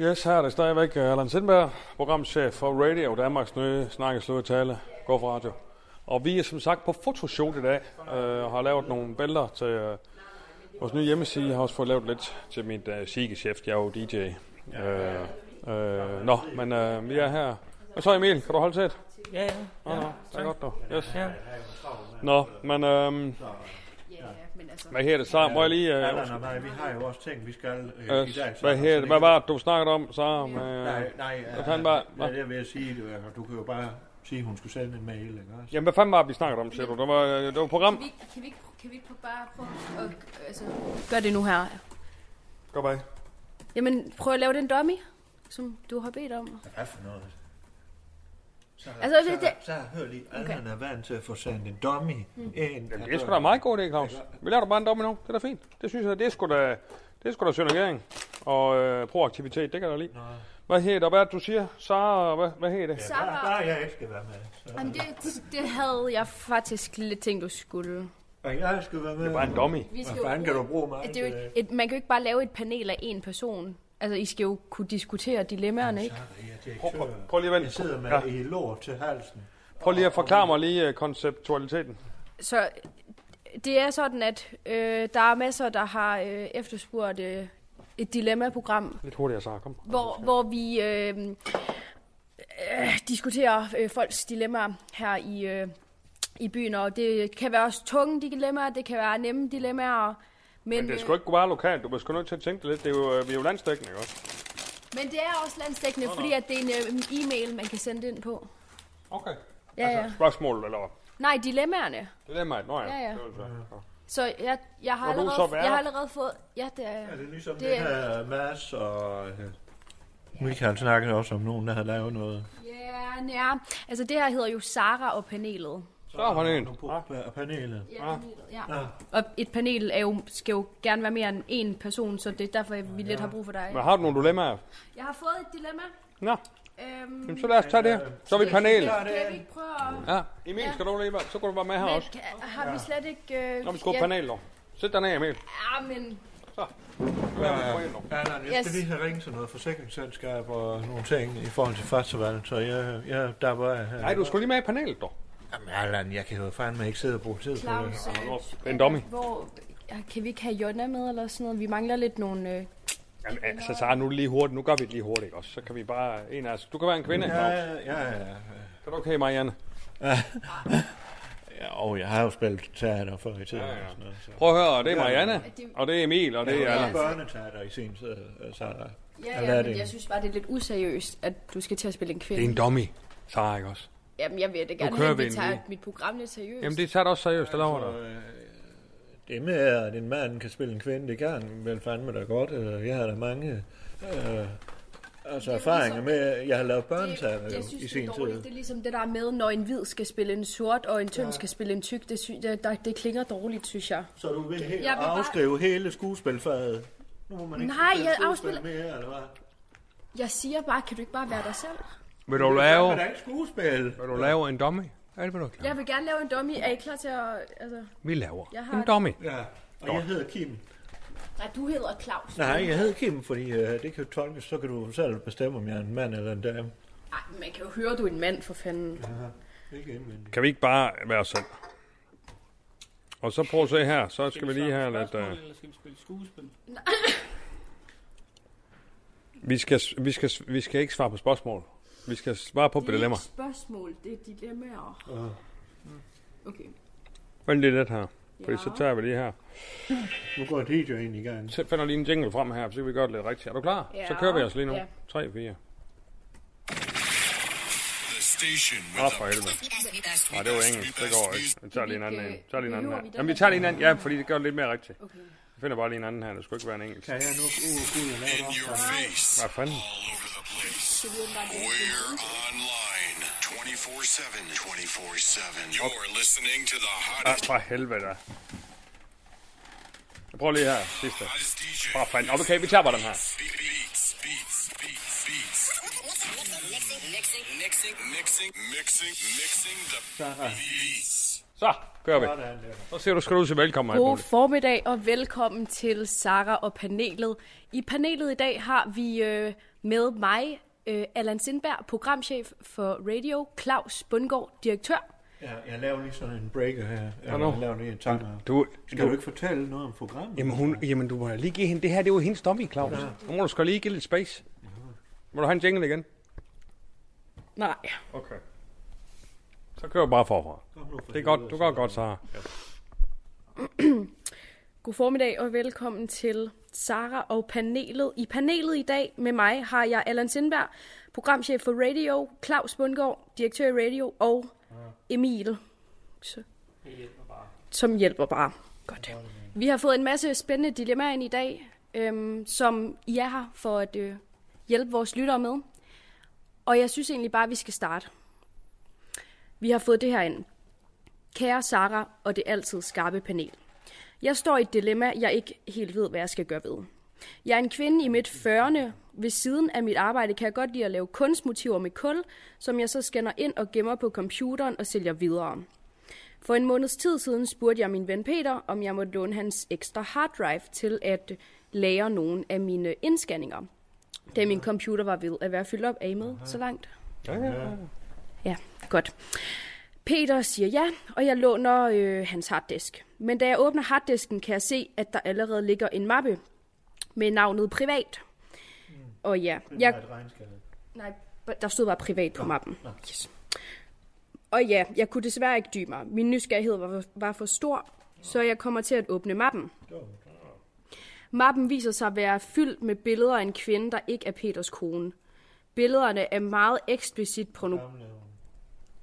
Yes, her er det stadigvæk øh, Allan Sindberg, programchef for Radio Danmarks nye snakkesluttale, går for radio. Og vi er som sagt på fotoshoot i dag, øh, og har lavet nogle billeder til øh, vores nye hjemmeside. Jeg har også fået lavet lidt til mit øh, sigeschef, jeg er jo DJ. Øh, øh, nå, men øh, vi er her. Og så Emil, kan du holde tæt? Ja, ja. Nå, nå, det er godt dog. Yes. Ja. Nå, men øh, Ja, men altså... hvad her det så? Må jeg lige... Øh, Allan og mig, vi har jo også ting, vi skal øh, i dag. øh, så- hvad, her, hvad var det, du snakkede om? Så, med, Nej, nej, øh, Hvad fanden var- ja, det vil jeg sige, du, altså, du kan jo bare sige, hun skulle sende en mail, ikke også? jamen, hvad fanden var det, vi snakkede om, siger du? Det var, øh, det var et program. Kan vi, ikke- kan vi, ikke, øh, kan vi ikke bare prøve at altså, gøre det nu her? Gå bag. Jamen, prøv at lave den dummy, som du har bedt om. Hvad for noget? Så, Altså, så, det- det- så, hør lige, at Okay. okay. man er vant til at få sendt en dummy Mm. ind. Jamen, det er sgu da en meget god idé, Claus. Vi laver da bare en domino. Det er da fint. Det synes jeg, det er sgu da, det er sgu da synergering og øh, proaktivitet. Det kan jeg da lide. Hvad hedder det? og Hvad er det, du siger? Sara, og hvad, hvad hedder det? Ja, Sara. bare- bare jeg ikke skal være med. Jamen, det, det havde jeg faktisk lidt tænkt, du skulle. Og jeg skal være med. Det er bare en dummy. Vi skal Hvad fanden jo- kan du bruge mig? Det er jo et, man kan jo ikke bare lave et panel af én person. Altså, I skal jo kunne diskutere dilemmaerne, ikke? Prøv, prøv, prøv lige at vente. Jeg sidder med Ja. ja. i lort til halsen. Prøv lige at forklare mig lige øh, konceptualiteten. Så det er sådan, at øh, der er masser, der har øh, efterspurgt øh, et dilemma-program, Lidt hurtigere, Sara. Kom. hvor, hvor vi øh, øh, diskuterer øh, folks dilemmaer her i, øh, i byen. Og det kan være også tunge dilemmaer, det kan være nemme dilemmaer. Men, Men det er sgu ikke bare lokalt. Du er sgu nødt til at tænke det lidt. Det er jo, øh, vi er jo landstækkende, ikke også? øh, men det er også landstækkende, fordi at det er en øh, e-mail, man kan sende ind på. Okay. Altså- Ja, ja. Spørgsmål, eller hvad? Nej, dilemmaerne. Det er mig. Nå ja. Ja, ja. Det var det så. Nå. Så jeg, jeg, har Hvor du allerede, så værter? jeg har allerede fået... Ja, det er jeg. Er det ligesom Det det, er- her Mads og... øh, Michael snakkede også om nogen, der havde lavet noget. Ja, ja. Altså det her hedder jo Sara og panelet. Så er han en. Og panelet. Ja, panelet, ja. Ah. Og et panel er jo, skal jo gerne være mere end én person, så det er derfor, vi lidt har brug for dig. Men har du nogle dilemmaer? Jeg har fået et dilemma. Nå, Øhm, jamen, så lad os tage det. Så er vi et panel. Kan, kan vi ikke prøve at... Ja, Emil, skal du lige være? Så går du bare med her Men også. kan, har vi slet ikke... Øh, Nå, vi skal have panel, dog. Sæt dig ned, Emil. Ja, men... Ja, nej, jeg skal Yes. lige have ringet til noget forsikringsselskab og nogle ting i forhold til festival, så jeg, jeg der var... her. Nej, du skulle lige med i panelet, dog. Jamen, Allan, jeg kan jo fandme ikke sidde og bruge tid på det. Claus, øh, En dummy. Hvor, ja, kan vi ikke have Jonna med eller sådan noget? Vi mangler lidt nogle... Øh, Jamen, altså, Sara, nu er det lige hurtigt. Nu gør vi det lige hurtigt, ikke også? Så kan vi bare... En af os. Du kan være en kvinde, Ja, Claus. ja, ja, ja. Er du okay, Marianne? ja. Og jeg har jo spillet teater før i tiden. Ja, ja. Og sådan noget, så. Prøv at høre, det er Ja, ja. Marianne, og det er Emil, og det er Jeg har Allan. lavet børneteater i sin tid, øh, ja, Sarah. Jeg lærte ja, men en. jeg synes bare, det er lidt useriøst, at du skal til at spille en kvinde. Det er en dummy, Sara, ikke også? Jamen, jeg vil da Nu gerne kører have, at vi vi en tager uge. mit program lidt seriøst. Jamen, det tager du også seriøst, det lover dig. øh, Det med, at en mand kan spille en kvinde, det kan vel fandme da godt. Øh, Jeg har da mange øh, altså erfaringer med, at jeg har lavet børneteater jo, ligesom- jeg i synes, det sin er tid. dårligt. Det er ligesom det der med, når en hvid skal spille en sort, og en tynd ja. skal spille en tyk. Det, sy- det, der, det klinger dårligt, synes jeg. Så du vil helt Jeg vil bare- afskrive hele skuespilfaget? Nu må man ikke Nej, spille jeg skuespil afspiller- mere, eller hvad? Jeg siger bare, kan du ikke bare være dig selv? Vil du Det lave, er da ikke skuespil. vil du lave en dummy? Ja, det vil du Jeg vil gerne lave en dummy. Er I klar til at... Altså... Vi laver Jeg har en det. dummy. Ja, og jeg hedder Kim. Nej, du hedder Claus. Nej, jeg hedder Kim, fordi øh, det kan jo tolkes, så kan du selv bestemme, om jeg er en mand eller en dame. Ej, man kan jo høre, du er en mand, for fanden. Ja, ikke indvendigt. Kan vi ikke bare være os selv? Og så prøv at se her, så skal vi lige have lidt... Spørgsmål, Uh, eller skal vi spille skuespil? vi, skal, vi, skal, vi skal ikke svare på spørgsmål. Vi skal svare på Det er ikke dilemmaer. spørgsmål, det er dilemmaer. Ja. Mm. Okay. Vent lige lidt her, fordi Ja. så tager vi lige her. Nu går DJ'en i gang. Så finder lige en jingle frem her, så kan vi gøre det lidt rigtigt. Er du klar? Ja. Så kører vi os lige nu. Ja. 3, 4. The station Åh, for helvede. Nej, det var engelsk. Det går ikke. Vi tager lige en anden Hvilke- en. Vi tager lige en anden behøver her. vi den Jamen, vi her? tager lige en anden. Ja, fordi det gør det lidt mere rigtigt. Okay. Jeg finder bare lige en anden her. Det skulle ikke være en engelsk. Kan jeg nu uh, gud, jeg laver det Your face Hvad fanden? all over the place. We're online 24 7. 24 7. You're listening to the Ah, hottest, for helvede da. Jeg prøver lige her. Sidste. hottest DJ. For fanden. Okay, vi tager bare den her. Beats, beats, beats, beats, beats. Mixing, mixing, mixing, mixing, mixing, mixing the beats. Så kører vi. sådan der. Så siger du, skal du sige velkommen. og alt God muligt. formiddag og velkommen til Sara og panelet. I panelet i dag har vi øh, med mig, øh, Allan Sindberg, programchef for Radio, Claus Bundgaard, direktør. Ja, jeg laver lige sådan en breaker her. Jeg Hvornår? laver lige en timer. Du, Skal du du, ikke fortælle noget om programmet? jamen, hun, jamen, du må lige give hende. Det her, det var hendes dummy, Claus. Nu må du skal lige give lidt space. Må du have en jingle igen? Nej. Okay. Så kører vi bare forfra. Kom nu for Det er godt. Du helvede. gør godt, Sara. God formiddag og velkommen til Sara og panelet. I panelet i dag med mig har jeg Allan Sindberg, programchef for Radio, Claus Bundgaard, direktør i Radio og Emil, så- Mm. som hjælper bare. Godt. Vi har fået en masse spændende dilemmaer ind i dag. øhm, som I er her for at øh, hjælpe vores lyttere med. Og jeg synes egentlig bare, at vi skal starte. Vi har fået det her ind. Kære Sara og det altid skarpe panel. Jeg står i et dilemma, jeg ikke helt ved, hvad jeg skal gøre ved. Jeg er en kvinde i midt 40'erne. Ved siden af mit arbejde kan jeg godt lide at lave kunstmotiver med kul, som jeg så scanner ind og gemmer på computeren og sælger videre. For en måneds tid siden spurgte jeg min ven Peter, om jeg måtte låne hans ekstra harddrive til at lære nogle af mine indscanninger. Da min computer var ved at være fyldt op, er I med så langt? Ja, godt. Peter siger ja, og jeg låner øh, hans harddisk. Men da jeg åbner harddisken, kan jeg se, at der allerede ligger en mappe med navnet privat. Og ja, jeg, nej, der stod bare privat på mappen. Yes. Og ja, jeg kunne desværre ikke dybe mig. Min nysgerrighed var, var for stor, så jeg kommer til at åbne mappen. Mappen viser sig at være fyldt med billeder af en kvinde, der ikke er Peters kone. Billederne er meget eksplicit porno...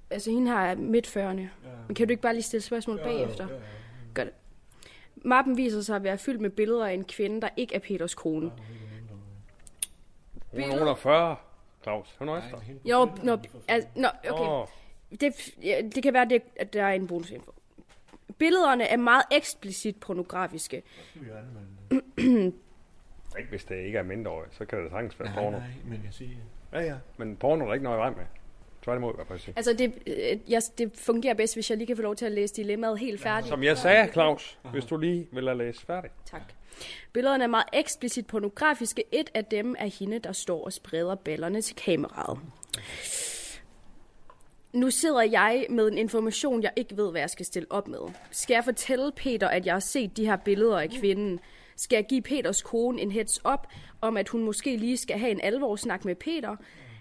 Altså, hende her er midt 40'erne. Men kan du ikke bare lige stille spørgsmål bagefter? Gør det. Mappen viser sig at være fyldt med billeder af en kvinde, der ikke er Peters kone. Hun er 48, Claus. Hun er efter. Jo, nå, altså, nå okay. Åh. Det, ja, det kan være, det, at der er en bonusinfo. Billederne er meget eksplicit pornografiske. Ikke hvis det ikke er mindreårig, så kan det sagtens være porno. nej, men jeg siger... Ja, ja. Men porno er der ikke noget i vejen med. Tværtimod, hvad jeg sige. Altså, det, øh, jeg, det fungerer bedst, hvis jeg lige kan få lov til at læse dilemmaet helt færdigt. Som jeg sagde, Claus, hvis du lige vil lade læse færdig. Tak. Billederne er meget eksplicit pornografiske. Et af dem er hende, der står og spreder ballerne til kameraet. Nu sidder jeg med en information, jeg ikke ved, hvad jeg skal stille op med. Skal jeg fortælle Peter, at jeg har set de her billeder af kvinden? Skal jeg give Peters kone en heads up om, at hun måske lige skal have en alvorsnak med Peter?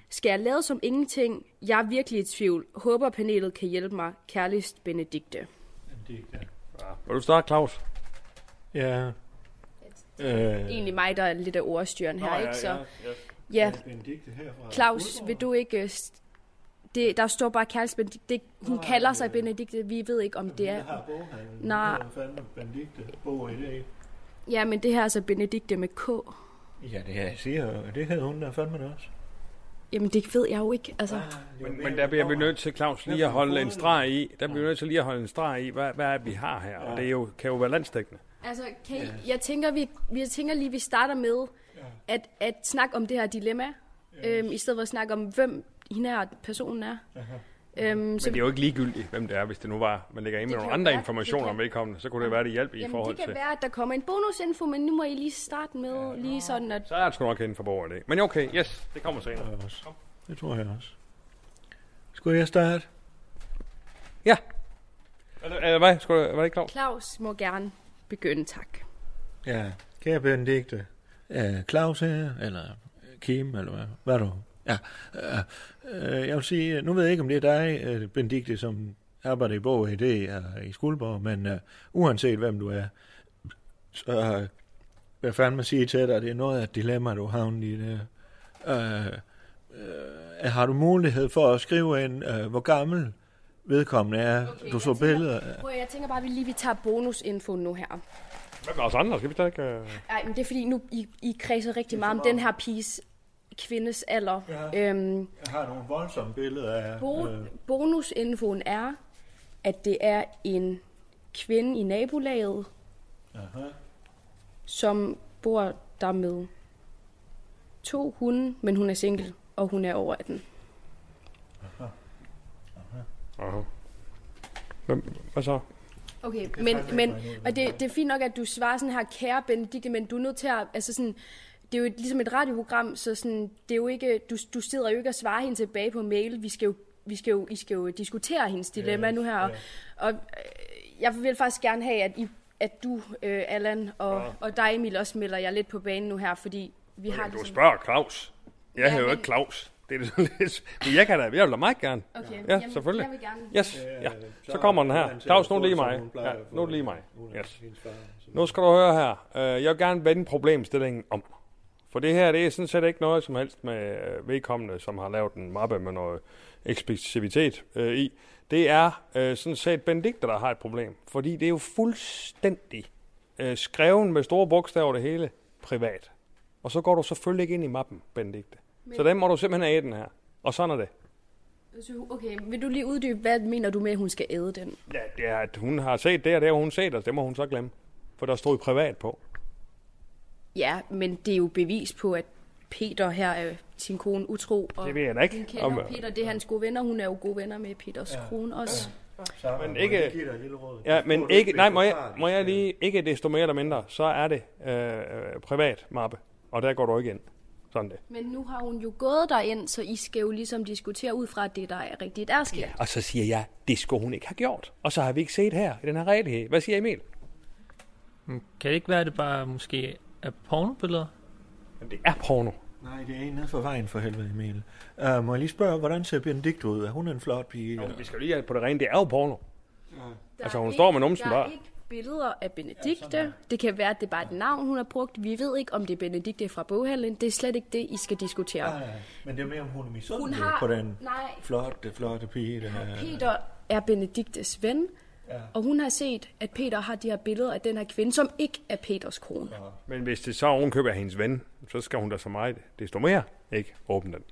Skal jeg lade som ingenting? Jeg er virkelig i tvivl. Håber panelet kan hjælpe mig. Kærligst Benedikte. Ja. Vil du starte, Claus? Ja. Øh, Egentlig mig, der er lidt af ordstyren her, Nå, ja, ikke? Så... ja, Ja, Benedikte herfra. Claus, vil du ikke... øh, st- Det, der står bare Kærlis Benedikte. Hun Nå, kalder sig Benedikte. Vi ved ikke, Altså, om det er... boghandlen. Nej. Det er fandme Benedikte bog i dag. Ja, men det her er altså Benedikte med K. Ja, det jeg siger jo. Det havde hun der fandme da også. Jamen, det ved jeg jo ikke. Altså, Ah. Men, men der bliver vi nødt til, Claus, lige at holde en streg i. Der bliver vi nødt til lige at holde en streg i, hvad, hvad er det, vi har her. Og det er jo, kan jo være landstækkende. altså kan I, jeg, tænker, vi, vi- jeg tænker lige, vi starter med at, at snakke om det her dilemma. Øhm, I stedet for at snakke om, hvem hende her personen er. Øhm, Men det er jo ikke ligegyldigt, hvem det er, hvis det nu var. Man lægger ind med Det nogle kan andre være. Det informationer kan- om vedkommende, så kunne det være, det hjalp i Jamen, forhold det kan til. være, at der kommer en bonusinfo, men nu må I lige starte med, lige sådan at... Så er det sgu nok inden for borger i dag. Men okay, yes, det kommer senere. Kom. Det tror jeg også. Skulle jeg starte? Eller, eller hvad? Skulle, var det ikke Claus? Claus må gerne begynde, tak. Ja. Kære Benedikte. Øh, Claus her, eller Kim, eller hvad, hvad er du? Ja. Øh, øh, jeg vil sige, nu ved jeg ikke, om det er dig, øh, Benedikte, som arbejder i Borg ID her i Skuldborg, men øh, uanset hvem du er, så øh, vil jeg fandme sige til dig, det er noget af et dilemma, du har i det. Øh, øh, har du mulighed for at skrive en, øh, hvor gammel vedkommende er? Okay, du så billeder af. Prøv, at- jeg tænker bare, at vi lige vi tager bonusinfo nu her. Hvad med os andre? Skal vi da ikke... øh, Nej, men det er fordi, nu I, I kredser rigtig meget om den her piges kvindes alder. Ja. Øhm, Jeg har nogle voldsomme billeder af... bo, øh, bonusinfoen er, at det er en kvinde i nabolaget, aha. som bor der med to hunde, men hun er single, og hun er over 18. Aha. Hvem, hvad så? Okay, men, men og det, det er fint nok, at du svarer sådan her, kære Benedikte, men du er nødt til at, altså sådan, det er jo et, ligesom et radioprogram, så sådan, det er jo ikke, du, du sidder jo ikke og svarer hende tilbage på mail, vi skal jo, vi skal jo, I skal jo diskutere hendes dilemma yes, nu her, og, og øh, jeg vil faktisk gerne have, at, I, at du, øh, Allan, og, ja. og dig, Emil, også melder jer lidt på banen nu her, fordi vi har Du ligesom... spørger Claus. Jeg Ja, ja, hedder jo men- ikke Claus. Det er det sådan lidt. Men jeg kan da, jeg vil da meget gerne. Okay, ja, jamen, selvfølgelig. jeg vil gerne- Yes, ja. Så kommer den her. Claus, nu er det lige mig. Ja, nu er det lige mig. Yes. Nu skal du høre her. Øh, Jeg vil gerne vende problemstillingen om. For det her, det er sådan set ikke noget som helst med øh, vedkommende, som har lavet en mappe med noget eksplicivitet øh, i. Det er øh, sådan set Benedikte, der har et problem. Fordi det er jo fuldstændig øh, skreven med store bogstaver det hele. privat. Og så går du selvfølgelig ikke ind i mappen, Benedikte. Men- Så den må du simpelthen have i den her. Og sådan er det. Så, Okay, vil du lige uddybe, hvad mener du med, at hun skal æde den? Ja, det er, at hun har set det, og det har hun set, og det må hun så glemme. For der stod privat på. Ja, men det er jo bevis på, at Peter her er sin kone utro. Og Det ved jeg da ikke. Hun kender Om- øh. Om, Peter, det er hans gode venner. Hun er jo gode venner med Peters ja. kone også. Så, Men Må jeg ikke, give dig et lille råd? ja, Husk på, men at du ikke, ikke nej, bliver må jeg, forklaret. må jeg lige, ikke desto mere eller mindre, så er det øh, øh, privat mappe, og der går du ikke ind. Sådan det. Men nu har hun jo gået derind, så I skal jo ligesom diskutere ud fra at det, der er rigtigt er sket. Ja. Og så siger jeg, det skulle hun ikke have gjort. Og så har vi ikke set her i den her rettighed. Hvad siger Emil? Men Kan det ikke være, at det bare måske er pornobilleder? Jamen, det er porno. Nej, det er en nede for vejen for helvede, Emil. Uh, må jeg lige spørge, hvordan ser Benedikt ud? Er hun en flot pige? Nå, vi skal jo lige have på det rene, det er jo porno. Der Altså, er hun ikke- står med numsen Der er bare. ikke billeder af Benedikte. Ja, det kan være, at det er bare et navn, hun har brugt. Vi ved ikke, om det er Benedikte fra boghandlen. Det er slet ikke det, I skal diskutere. Nej, nej, men det er mere, om hun er Hun misundelig har- på den nej. flotte, flotte pige. Der, Peter er Benediktes ven, ja. og hun har set, at Peter har de her billeder af den her kvinde, som ikke er Peters kone. Ja. Men hvis det så ovenkøber hendes ven, så skal hun da så meget, desto mere, ikke åbne den.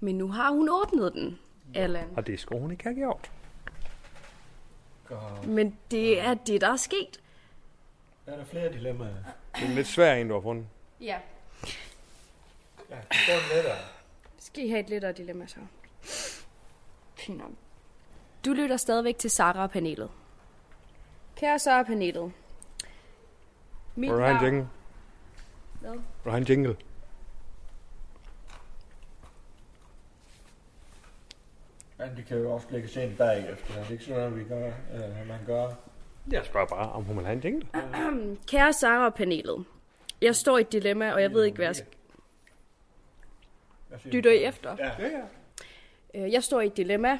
Men nu har hun åbnet den, Allan. Og det skulle hun ikke have gjort. Men det er det, der er sket. Der er der flere dilemmaer. Det er en lidt svær en, du har fundet. Ja. Ja, få en lettere. Skal I have et lettere dilemma så? Fint nok. Du lytter stadigvæk til Sara-panelet. Kære Sara-panelet. Mit Vil du have en jingle? Hvad? Vil du have en jingle? Men det kan jo også lægges ind bagefter. Det er ikke sådan, at vi gør, øh, man gør. Jeg spørger bare, om hun vil have en jingle. Kære Sara-panelet. Jeg står i et dilemma, og jeg ved ikke, hvad jeg skal... Lytter I efter? Ja. ja, Øh, Jeg står i et dilemma.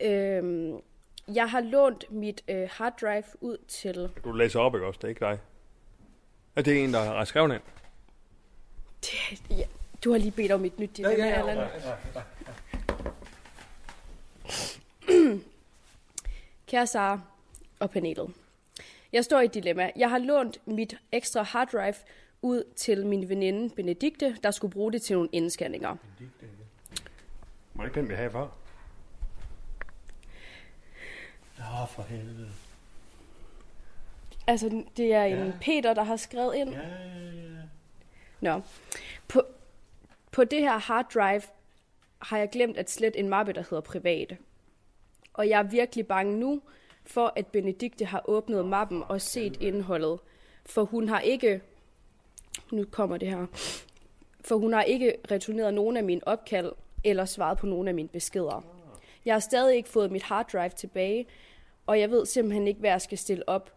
Øhm, Jeg har lånt mit øh, harddrive ud til... Du læser op, ikke også? Det er ikke dig. Er det en, der har skrevet ind? Ja, du har lige bedt om et nyt dilemma, ja, ja, ja, ja. Kære Sara og panelet. Jeg står i et dilemma. Jeg har lånt mit ekstra harddrive ud til min veninde Benedikte, der skulle bruge det til nogle indscanninger. Må ikke den, vi have for? Nå, for helvede. Altså, det er en ja. Peter, der har skrevet ind. Ja, ja, ja. Nå. På, på det her hard drive har jeg glemt at slette en mappe, der hedder private. Og jeg er virkelig bange nu for, at Benedikte har åbnet mappen og set indholdet. For hun har ikke... Nu kommer det her. For hun har ikke returneret nogen af mine opkald eller svaret på nogen af mine Ah. beskeder. Jeg har stadig ikke fået mit hard drive tilbage, og jeg ved simpelthen ikke, hvad jeg skal stille op.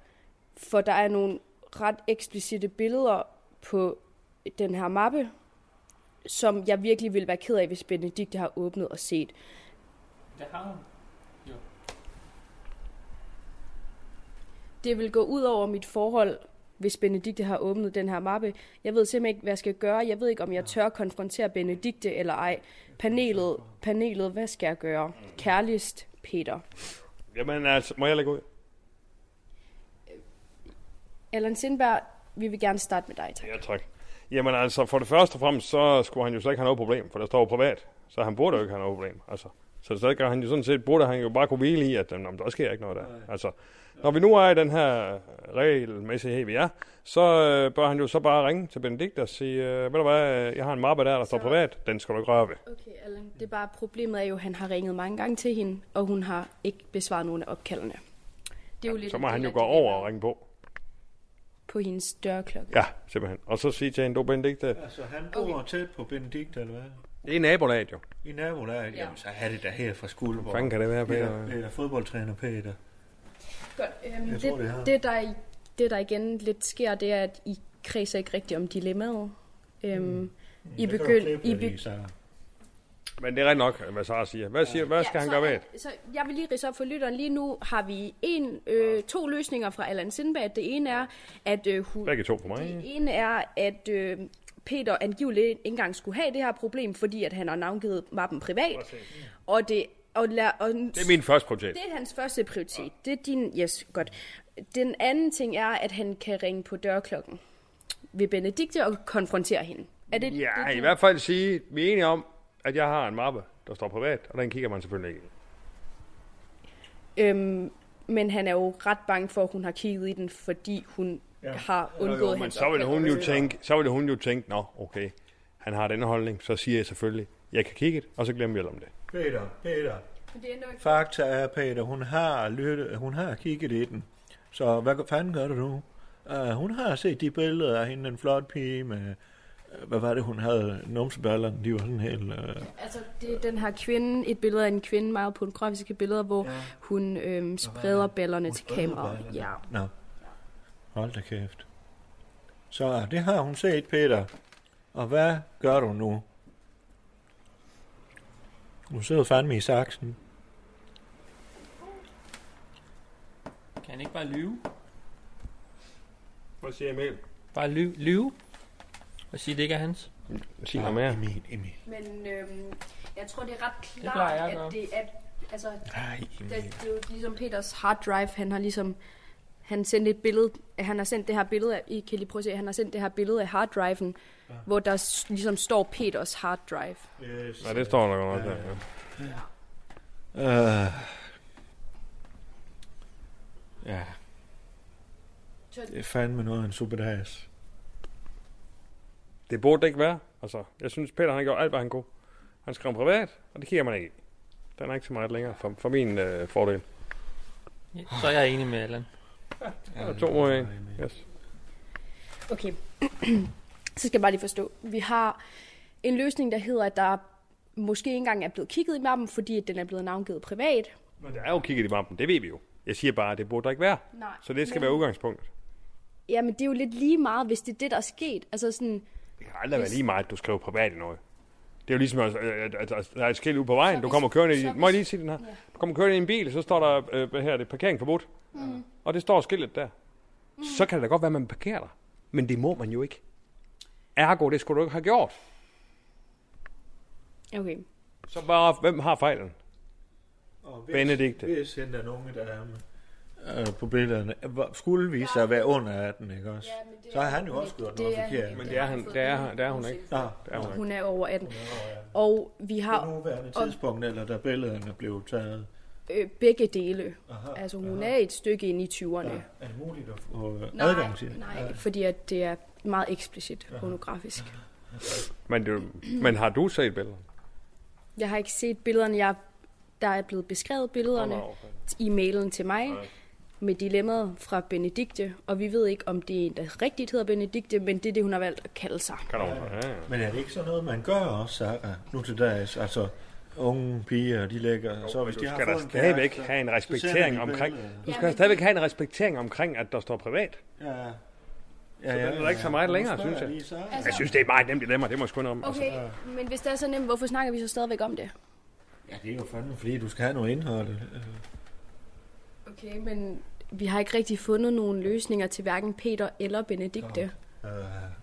For der er nogle ret eksplicite billeder på den her mappe, som jeg virkelig ville være ked af, hvis Benedikte har åbnet og set. Det har hun. Det vil gå ud over mit forhold, hvis Benedikte har åbnet den her mappe. Jeg ved simpelthen ikke, hvad jeg skal gøre. Jeg ved ikke, om jeg tør konfrontere Benedikte eller ej. Panelet, panelet, hvad skal jeg gøre? Kærligst, Peter. Jamen altså, må jeg lægge ud? Allan Sindberg, vi vil gerne starte med dig. Tak. Ja, tak. Jamen altså, for det første og fremmest, så skulle han jo slet ikke have noget problem, for der står jo privat. Så han burde jo ikke have noget problem, altså. Så så gør han jo sådan set, burde han jo bare kunne hvile i, at jamen, der sker ikke noget der. Altså, når vi nu er i den her regelmæssighed, vi er, så øh, bør han jo så bare ringe til Benedikt og sige, øh, ved du hvad, øh, jeg har en mappe der, der står Så- privat, den skal du ikke røre ved. Okay, Allan. Det er bare problemet er jo, at han har ringet mange gange til hende, og hun har ikke besvaret nogen af opkaldene. Det er jo lidt Så en må del han jo af gå dilemmaet. over og ringe på. På hendes dørklokke. Ja, simpelthen. Og så sige til hende, du Benedikt, øh, Altså, han bor okay. tæt på Benedikt, eller hvad? det er nabolaget jo. I nabolaget? Ja. Jamen, så er det da her fra Skuldborg. Fanden kan det være, Peter? Peter, Peter fodboldtræner Peter. Godt. Øhm, Jeg det, tror, det det, er- det, der, i- det, der igen lidt sker, det er, at I kredser ikke rigtigt om dilemmaet. Øhm, mm. I begynd... I be... Men det er rent nok, hvad Sara siger. Hvad, siger, hvad skal han gøre ved det? Så jeg vil lige rise op for lytteren. Lige nu har vi en, øh, to løsninger fra Allan Sindberg. Det ene er, at øh, hun... Begge to på mig. Det ene er, at øh, Peter angiveligt ikke engang skulle have det her problem, fordi at han har navngivet mappen privat. Og det, og, la, og Det er min første prioritet. Det er hans første prioritet. Det er din... Yes, godt. Den anden ting er, at han kan ringe på dørklokken. ved Benedikte og konfrontere hende. Er det, Ja, det, i du- hvert fald sige, vi er enige om, at jeg har en mappe, der står privat, og den kigger man selvfølgelig ikke. i. Øhm, men han er jo ret bange for, at hun har kigget i den, fordi hun ja. har undgået Jo, jo, men hans så vil, opkald. hun jo tænke, så vil hun jo tænke, nå, okay, han har den holdning, så siger jeg selvfølgelig, jeg kan kigge det, og så glemmer jeg om det. Peter, Peter. Men det er nok... Fakta er, Peter, hun har, lyttet, hun har kigget i den. Så hvad fanden gør du nu? Uh, hun har set de billeder af hende, en flot pige med... øh, Hvad var det, hun havde? Numseballerne, de var sådan helt... Uh, Altså, det er den her kvinde, et billede af en kvinde, meget pornografiske billeder, hvor ja. hun øhm, spreder ballerne til kameraet. Ja. Nå. Hold da kæft. Så ah, det har hun set, Peter. Og hvad gør du nu? Du sidder fandme i saksen. Kan han ikke bare lyve? Hvad siger Emil? Bare lyve? lyve? Og sige, det ikke er hans? Sig ham her. Emil, Emil. Men øhm, jeg tror, det er ret Det plejer jeg at klart, gøre. at det er... Altså, Ej, det, det er jo ligesom Peters hard drive, han har ligesom... Han sendte et billede, han har sendt det her billede af, I kan lige prøve at se, han har sendt det her billede af harddriven, ja. hvor der s- ligesom står Peters hard drive. Yes. Ja, det står der godt nok der. Ja. Uh, ja, det er fandme noget af en superdags. Det burde det ikke være. Altså, jeg synes, Peter han gjorde alt, hvad han kunne. Han skrev privat, og det kigger man ikke i. Den er ikke så meget længere for, for min øh, fordel. Ja, Så er jeg enig med Allan. Ja, to mod en. Yes. Okay, så skal jeg bare lige forstå. Vi har en løsning, der hedder, at der måske ikke engang er blevet kigget i mappen, fordi at den er blevet navngivet privat. Men der er jo kigget i mappen, det ved vi jo. Jeg siger bare, at det burde der ikke være. Nej. Så det skal Men- være udgangspunktet. Jamen, det er jo lidt lige meget, hvis det er det, der er sket. Altså sådan, Det kan aldrig være Hvis- lige meget, at du skriver privat i noget. Det er jo ligesom, at, at, at, at der er et skilt ude på vejen. Du hvis- kommer kørende så i, hvis- må jeg lige sige den her? Ja. Du kommer kørende i en bil, så står der, øh, hvad her, er det parkering forbudt. Mm. Og det står skiltet der. Så kan det da godt være, at man parkerer der. Men det må man jo ikke. Ergo, det skulle du ikke have gjort. okay. Så bare, hvem har fejlen? Og hvis, Benedikte. Hvis hende den unge dame øh, på billederne hvor- skulle vise sig at være under 18, ikke også? Ja, så har han jo også gjort det noget er han forkert. ikke. Men det er han, det er, det er hun ikke. Nå, Det er hun ikke. Hun er over 18. Og vi på har nuværende og, tidspunkt, eller da billederne blev taget. øh, begge dele. Aha, Altså hun er et stykke ind i 20'erne. Ja, er det muligt at få øh, Nej, adgang til? Nej, fordi at det er meget eksplicit pornografisk. Men, det, men har du set billederne? Jeg har ikke set billederne. Jeg, der er blevet beskrevet billederne altså. i mailen til mig med dilemmaet fra Benedikte. Og vi ved ikke, om det er en, der rigtigt hedder Benedikte, men det er det, hun har valgt at kalde sig. Kan du? Ja, ja. Men er det ikke sådan noget, man gør også, Sarah, nu til dags? Altså, unge piger, de lægger... Jo, så hvis Du de har skal fået da en stadigvæk kæreste, have en så sender de respektering omkring. billeder. Du skal stadigvæk have en respektering omkring, at der står privat. Ja. Så den er der ikke så meget længere, synes jeg. Altså- Jeg synes, det er et meget nemt dilemma, det må jeg sgu Altså, om. Okay, men hvis det er så nemt, hvorfor snakker vi så stadigvæk om det? Ja, det er jo fandme, fordi du skal have noget indhold. Øh, Okay, men vi har ikke rigtig fundet nogen løsninger til hverken Peter eller Benedikte. Øh,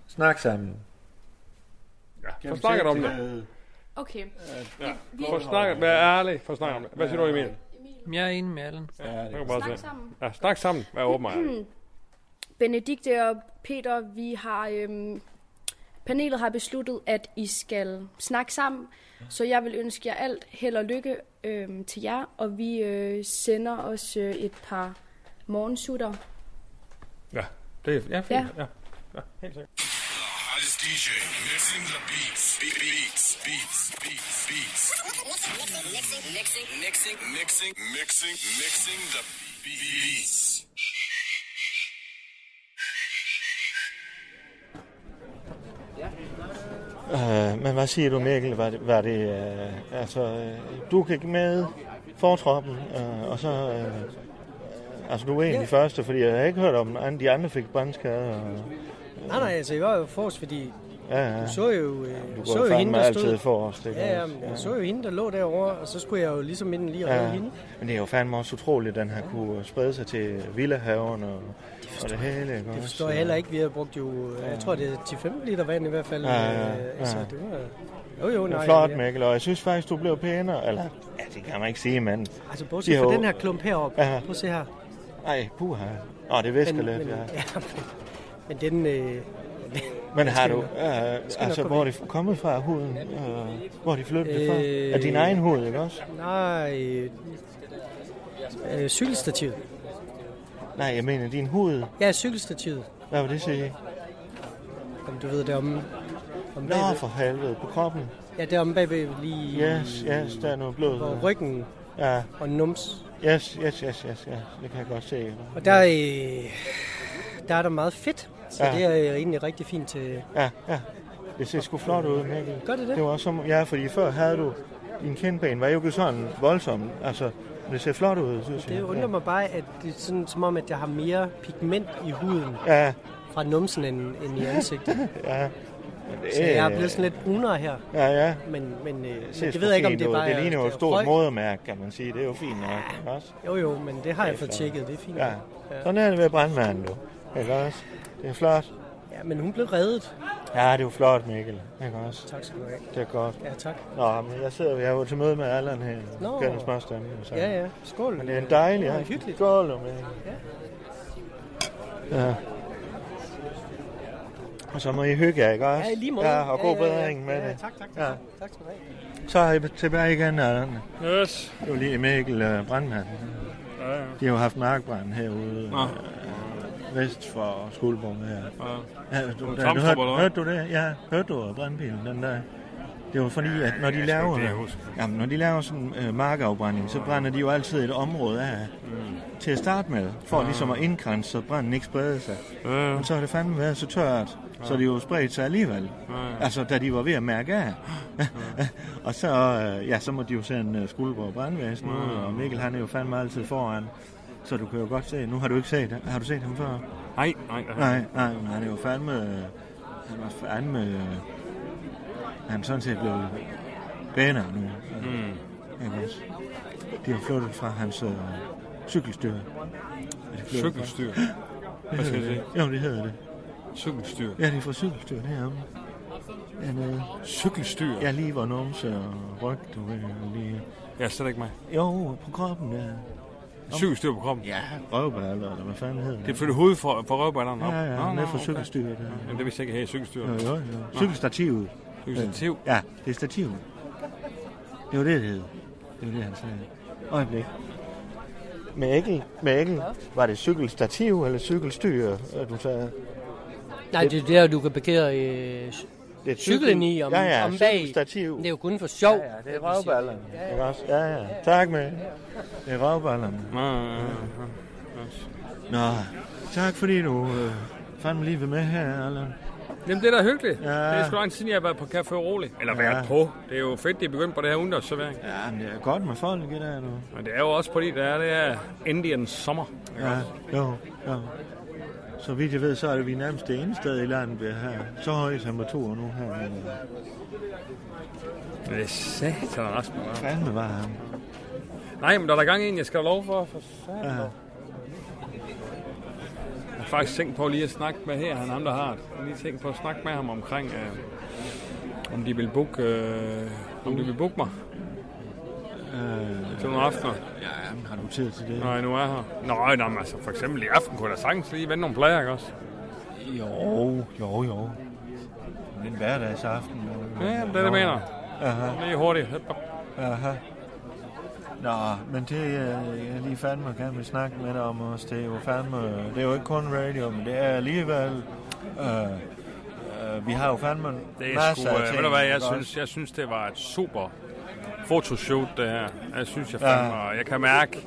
snak sammen. Ja, Jamen, få snakket om selv, det. øh, Okay. Ja. vi- Få snakket, vær ærlig, få snakket om det. Hvad siger du, Emil? Jeg er enig med Allan. Ja, Jeg kan det bare Snak se. sammen. Ja, snak sammen, vær åben og ærlig. Hmm. Benedikte og Peter, vi har... Øhm, panelet har besluttet, at I skal snakke sammen, så jeg vil ønske jer alt held og lykke øhm, til jer, og vi øh, sender os øh, et par morgensutter. Ja, det er ja, fint. Ja. Ja, helt sikkert. Hottest DJ mixing the beats. Be- Beats, beats, beats, beats. Mixing, mixing, mixing, mixing, mixing, mixing the beats. Øh, men hvad siger du, Mikkel? Var det, var det øh, altså, øh, du gik med fortroppen, øh, og så... Øh, altså, du er en af de første, fordi jeg har ikke hørt om, at de andre fik brandskade. Og, Nej, nej, altså jeg var jo forrest, fordi ja, ja. du så jo, Du øh, går så jo hende, fandme der stod... altid forrest, ikke ja, ja, også? men jeg Ja. så jo hende, der lå derovre, og så skulle jeg jo ligesom inden lige redde ja. hende. Men det er jo fandme også utroligt, at den har kunne sprede sig til villahaven og det, og det hele. Ikke Det forstår jeg heller ikke. Vi har brugt jo, øh, jeg tror det er 10-15 liter vand i hvert fald. Ja, ja, øh, ja. Altså, det var, jo, jo, Det nej. er flot, ja. Mikkel, og jeg synes faktisk, du blev pænere. Eller, ja, det kan man ikke sige, men... Altså, de bortset har fra jo- den her klump heroppe. Ja. Ja. Prøv at se her. Ej, puha. Nå, det visker Men- lidt, men- ja. ja. Men den, øh, Men har Skal du, nok- øh, skal nok altså gå hvor er væk. det kommet fra huden? Øh, hvor er de flyttet det fra? Øh, Er din egen hud, ikke også? Nej, øh, cykelstativet. Nej, jeg mener din hud. Ja, cykelstativet. Hvad vil det sige? Jamen, du ved det om... om Nå, for helvede, på kroppen. Ja, det er om bagved lige... Yes, yes, der er noget blod. Hvor ryggen ja. Mm. og nums. Yes, yes, yes, yes, yes. Det kan jeg godt se. Og der, øh, der er der meget fedt, så Ja. ja. det er øh, egentlig rigtig fint til... Ja, ja. Det ser sgu flot ud, Mikkel. Gør det det? Det var også som, ja, fordi før havde du, din kindben var jo ikke sådan voldsom. Altså, men det ser flot ud, synes jeg. Det undrer mig bare, at det er sådan, som om, at jeg har mere pigment i huden ja. fra numsen end, end i ansigtet. ja. Så jeg er blevet sådan lidt brunere her. Øh, Ja, ja. Men, men, øh, Det, men det ved jeg ikke, om det er bare... Det ligner jo et stort røg. modermærke, kan man sige. Det er jo fint nok. ikke også? Jo, jo, men det har jeg fået flot. tjekket. Det er fint. Ja. Ja. Sådan er det ved brandmanden, du. Ikke også? Det er flot. Ja, men hun blev reddet. Ja, det er jo flot, Mikkel. Ikke også? Tak skal du have. Det er godt. Ja, tak. Nå, men jeg sidder jeg er jo til møde med Allan her. Nå. Gennem småstemmen. Så. Ja, ja. Skål. Men det er en dejlig Ja, aften. hyggeligt. Skål, med. Ja. Og så må I hygge jer, ikke også? Ja, i lige måde. Ja, og god Ja, ja, ja. bedring med Ja, det. tak, tak, tak, Ja. tak. Tak skal du have. Så er I tilbage igen, Allan. Yes. Det var lige Mikkel uh, Brandmanden. Ja, ja. De har jo haft markbrand herude. Nå. øh, Vest for Skuldborg her. Ja, du, Nogle du, du, tramstopper, hørte, eller hvad? hørte du det? Ja, hørte du brandbilen den der? Det var fordi, at når Jeg de skal laver, ikke det, jeg husker. jamen, når de laver sådan øh, markafbrænding, så brænder de jo altid et område af til at starte med, for Ja. ligesom at indgrænse, så branden ikke spreder sig. Ja. Men så har det fandme været så tørt, så det jo spredt sig alligevel. Ja. Altså, da de var ved at mærke af. og så, øh, ja, så må de jo sende øh, Skuldborg Brandvæsen ud, Ja. og Mikkel han er jo fandme altid foran. Så du kan jo godt se, nu har du ikke set, har du set ham før? Nej, nej, nej. Nej, nej, men han er jo fandme... øh, Han var fandme... øh, Han er sådan set blevet banere nu. Mm. Ikke også? De har flyttet fra hans øh, cykelstyr. Er det flyttet fra? Cykelstyr? Hvad Hvad skal hedder det det? Jo, det hedder det. Cykelstyr? Ja, det er fra cykelstyr heromme. Dernede. Cykelstyr? Ja, lige hvor numse og ryg, du ved. Lige. Ja, slet ikke mig. Jo, på kroppen, ja. Cykelstyr på kroppen? Ja, røvballer, eller hvad fanden hedder det? Det flytter hovedet fra, fra røvballerne op? Ja, ja, Nå, nå, ned fra okay. cykelstyret, ja. Jamen, det vidste jeg ikke her i cykelstyret. Jo, jo, Nå. jo. Cykelstativet. Cykelstativ? Øh, Ja, det er stativet. Det var det, det hed. Det var det, han sagde. Øjeblik. Med ægel, med ægel, var det cykelstativ eller cykelstyr, øh, du sagde? Nej, det er der, du kan parkere øh, Det er cyklen i om, ja, ja, om bag. cykelstativ. Det er jo kun for sjov. Ja, ja, det er røvballerne. Ikke også? Ja, ja. Tak med. Det er røvballerne. Nå, ja, ja, Nå, tak fordi du øh, fandme lige vil med her, Allan. Jamen, det er da hyggeligt. Ja. Det er sgu lang tid, siden, jeg har været på Café Rolig. Eller Ja. været på. Det er jo fedt, det er begyndt på det her udendørsservering. Ja, men det er godt med folk i dag, nu. Men det er jo også fordi, der er det her Indiens sommer. ikke Ja, også? jo, jo. Så vidt jeg ved, så er det vi nærmest det ene sted i landet, vi har så høje temperaturer nu her. Det er satan og Rasmus. hva'? Fandme var han. Nej, men der er der gang i en, jeg skal have lov for. for satan. Ja. Jeg har faktisk tænkt på lige at snakke med her, han ham der har det. Jeg har lige tænkt på at snakke med ham omkring, øh, om de vil booke, øh, om de vil booke mig Øh, til nogle aftener. ja, men har du tid til det? Nej, nu er jeg her. Nej, nej, men altså for eksempel i aften kunne jeg da sagtens lige vende nogle plader, ikke også? Jo, jo, jo. Det er en hverdagsaften. jo. Ja, det er det, jeg mener. Aha. Lige hurtigt. Aha. Nå, men det, øh, jeg lige fandme kan vi snakke med dig om os, det er jo fandme, det er jo ikke kun radio, men det er alligevel, øh, øh, vi har jo fandme Det er masser sgu, af øh, ting. ved du hvad, jeg ikke også? synes, jeg synes, det var et super fotoshoot, det her. Jeg synes, jeg Ja. fandme, og jeg kan mærke,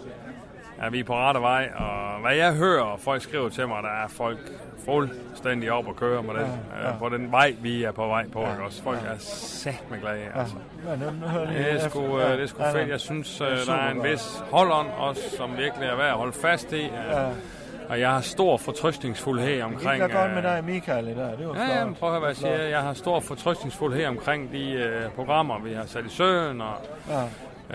at vi er på rette vej, og hvad jeg hører, og folk skriver til mig, der er folk fuldstændig op at køre med det, Ja, ja, ja. ja. på den vej, vi er på vej på, Ja, ikke også? Folk ja. er satme glade, altså. Ja, nu- nu hører jeg lige Det er efter. sgu, øh, Ja, det er sgu ja, fedt. ja. Jeg synes, Det er øh, der er en supergodt. vis holdånd også, som virkelig er værd at holde fast i. øh, Og jeg har stor fortrøstningsfuldhed Det omkring... gik da godt med øh, dig, Michael, i dag. Det var Ja, ja, men flot. prøv at høre, hvad jeg Det var siger. flot. Jeg har stor fortrøstningsfuldhed omkring de øh, programmer, vi har sat i søen, og Ja.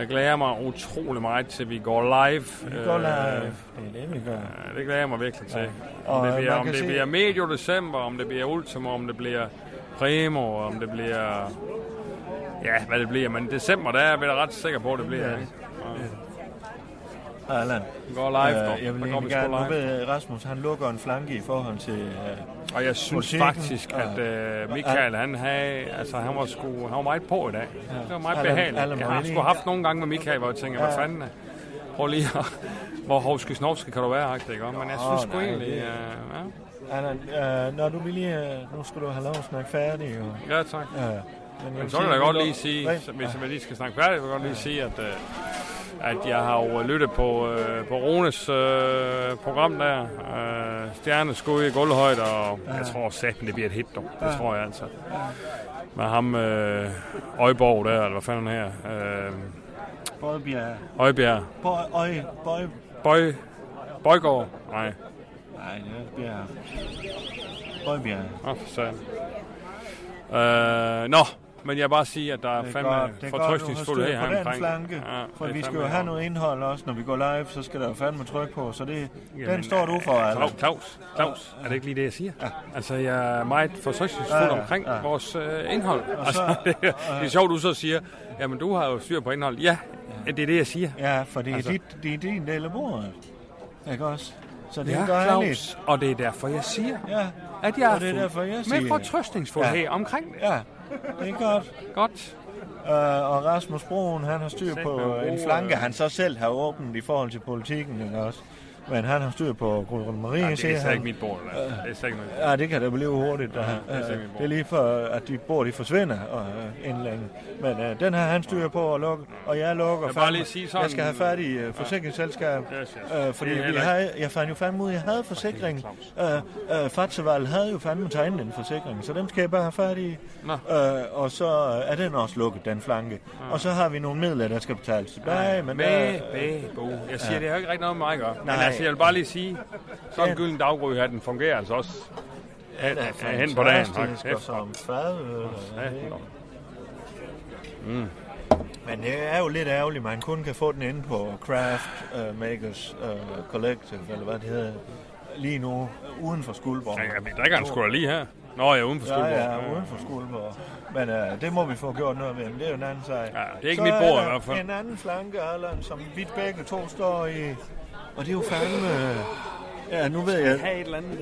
jeg glæder mig utrolig meget til, vi går live. Vi går Øh, live. Det er det, vi gør. ja, det glæder jeg mig virkelig til. Og, Om det øh, bliver, man om kan det se- bliver medio december, om det bliver ultimo, om det bliver primo, om det bliver... Ja, hvad det bliver, men december, der er jeg vel ret sikker på, at det bliver. Ja. ikke? Og- Allan. Den går live, dog. Øh, jeg vil Der egentlig går vi sgu gerne, nu live. ved jeg, Rasmus, han lukker en flanke i forhold til øh, Og jeg synes politikken, faktisk, og- at øh, Michael, han, havde, altså, han, var sgu, han var meget på i dag. Det var meget Allan- behageligt. Allan Jeg har Morini. sgu haft nogle gange med Michael, hvor jeg tænker, hvad Ja. fanden er- Prøv lige at... Hvor hovske snovske kan du være, agtig, ikke? Men jeg Nå, synes sgu nej, egentlig... det- øh, ja. Allan, øh, når du vil lige, øh, nu skulle du have lov at snakke færdig. Jo. Ja, tak. Øh, Ja, jeg men, vil så sige, vil jeg vi godt luk- lige sige, Rent- hvis hvis jeg lige skal snakke færdigt, vil jeg godt lige sige, at, øh, at jeg har jo lyttet på, øh, på Rones øh, program der, øh, Stjerneskud i gulvhøjde, og jeg tror satme, det bliver et hit, dog. det tror jeg altså. Med ham øh, Øjborg der, eller hvad fanden er her? Øh, Bøjbjerg. Øjbjerg. Bøj, øj, bøj. Bøj, Bøjgaard? Nej. Nej, det bliver... Bøjbjerg. Åh, for satan. Øh, nå, men jeg vil bare sige, at der er, Det er fandme godt, det er godt, du har styr på fortrøstningsfuld her den omkring. flanke, ja, for det er vi skal fandme jo i have orden. noget indhold også. Når vi går live, så skal der jo fandme tryk på, så det, den Jamen, står du for, altså. øh, Allan. Claus, Claus, Claus, er det ikke lige det, jeg siger? Ja. Altså, jeg er meget forsøgsfuld Ja, ja, omkring ja. vores øh, indhold. Og så- altså, det, er- det er sjovt, du så siger, jamen, du har jo styr på indhold. Ja, det er det, jeg siger. Ja, for det er, Altså- dit, det er din del af bordet. Ikke også? Så det ja, er dejligt. Claus, og det er derfor, jeg siger, ja. at jeg Og det er fuld. derfor, jeg siger Men det. fortrøstningsfuldhed Ja. omkring det. Ja, det er godt. Godt. Uh, og Rasmus Broen, han har styr Sæt på med en en bro, flanke, øh. han så selv har åbent i forhold til politikken, ikke også? Men han har styr på Grønland Marie, Ja, det siger er slet han. ikke mit bord. eller? Øh, Det er slet ikke mit Ja, det kan da blive hurtigt. Ja, det er det, slet er ikke mit bord. det er lige for, at de bor, de forsvinder og øh, inden længe. Men øh, den her, han styrer på at lukke, og jeg lukker. Jeg vil bare fandme. lige sige sådan- jeg skal have fat i øh, forsikringsselskab, Yes, yes. øh, fordi Det er vi heller havde, jeg fandt jo fandme ud, jeg havde forsikring. Øh, øh, Fatseval havde jo fandme tegnet en forsikring, så dem skal jeg bare have fat i. Nå. Ah. Øh, og så øh, er den også lukket, den flanke. Ja. Og så har vi nogle midler, der skal betales tilbage. Nej, men med, der- med, bo. Jeg siger, Ja. ja. det har ikke rigtig noget med mig at gøre. Men Nej. altså, jeg vil bare lige sige, sådan Den- en gylden daggry her, den fungerer altså også hen, Den er hen på dagen. fantastisk, Hold og som fad, øh, kæft. Ja, nå. Mm. Men det er jo lidt ærgerligt, man kun kan få den inde på Craft uh, Makers uh, Collective, eller hvad det hedder, lige nu, øh, uden for Skuldborg. Ja, vi drikker en sgu da lige her. Nå, jeg er uden for Skuldborg. Ja, ja, uden for Skuldborg. Men uh, det må vi få gjort noget ved, men det er jo en anden sag. Ja, det er ikke mit bord i hvert fald. en anden flanke, Allan, som vi begge to står i, og det er jo fandme... øh, Ja, nu ved jeg... et eller andet.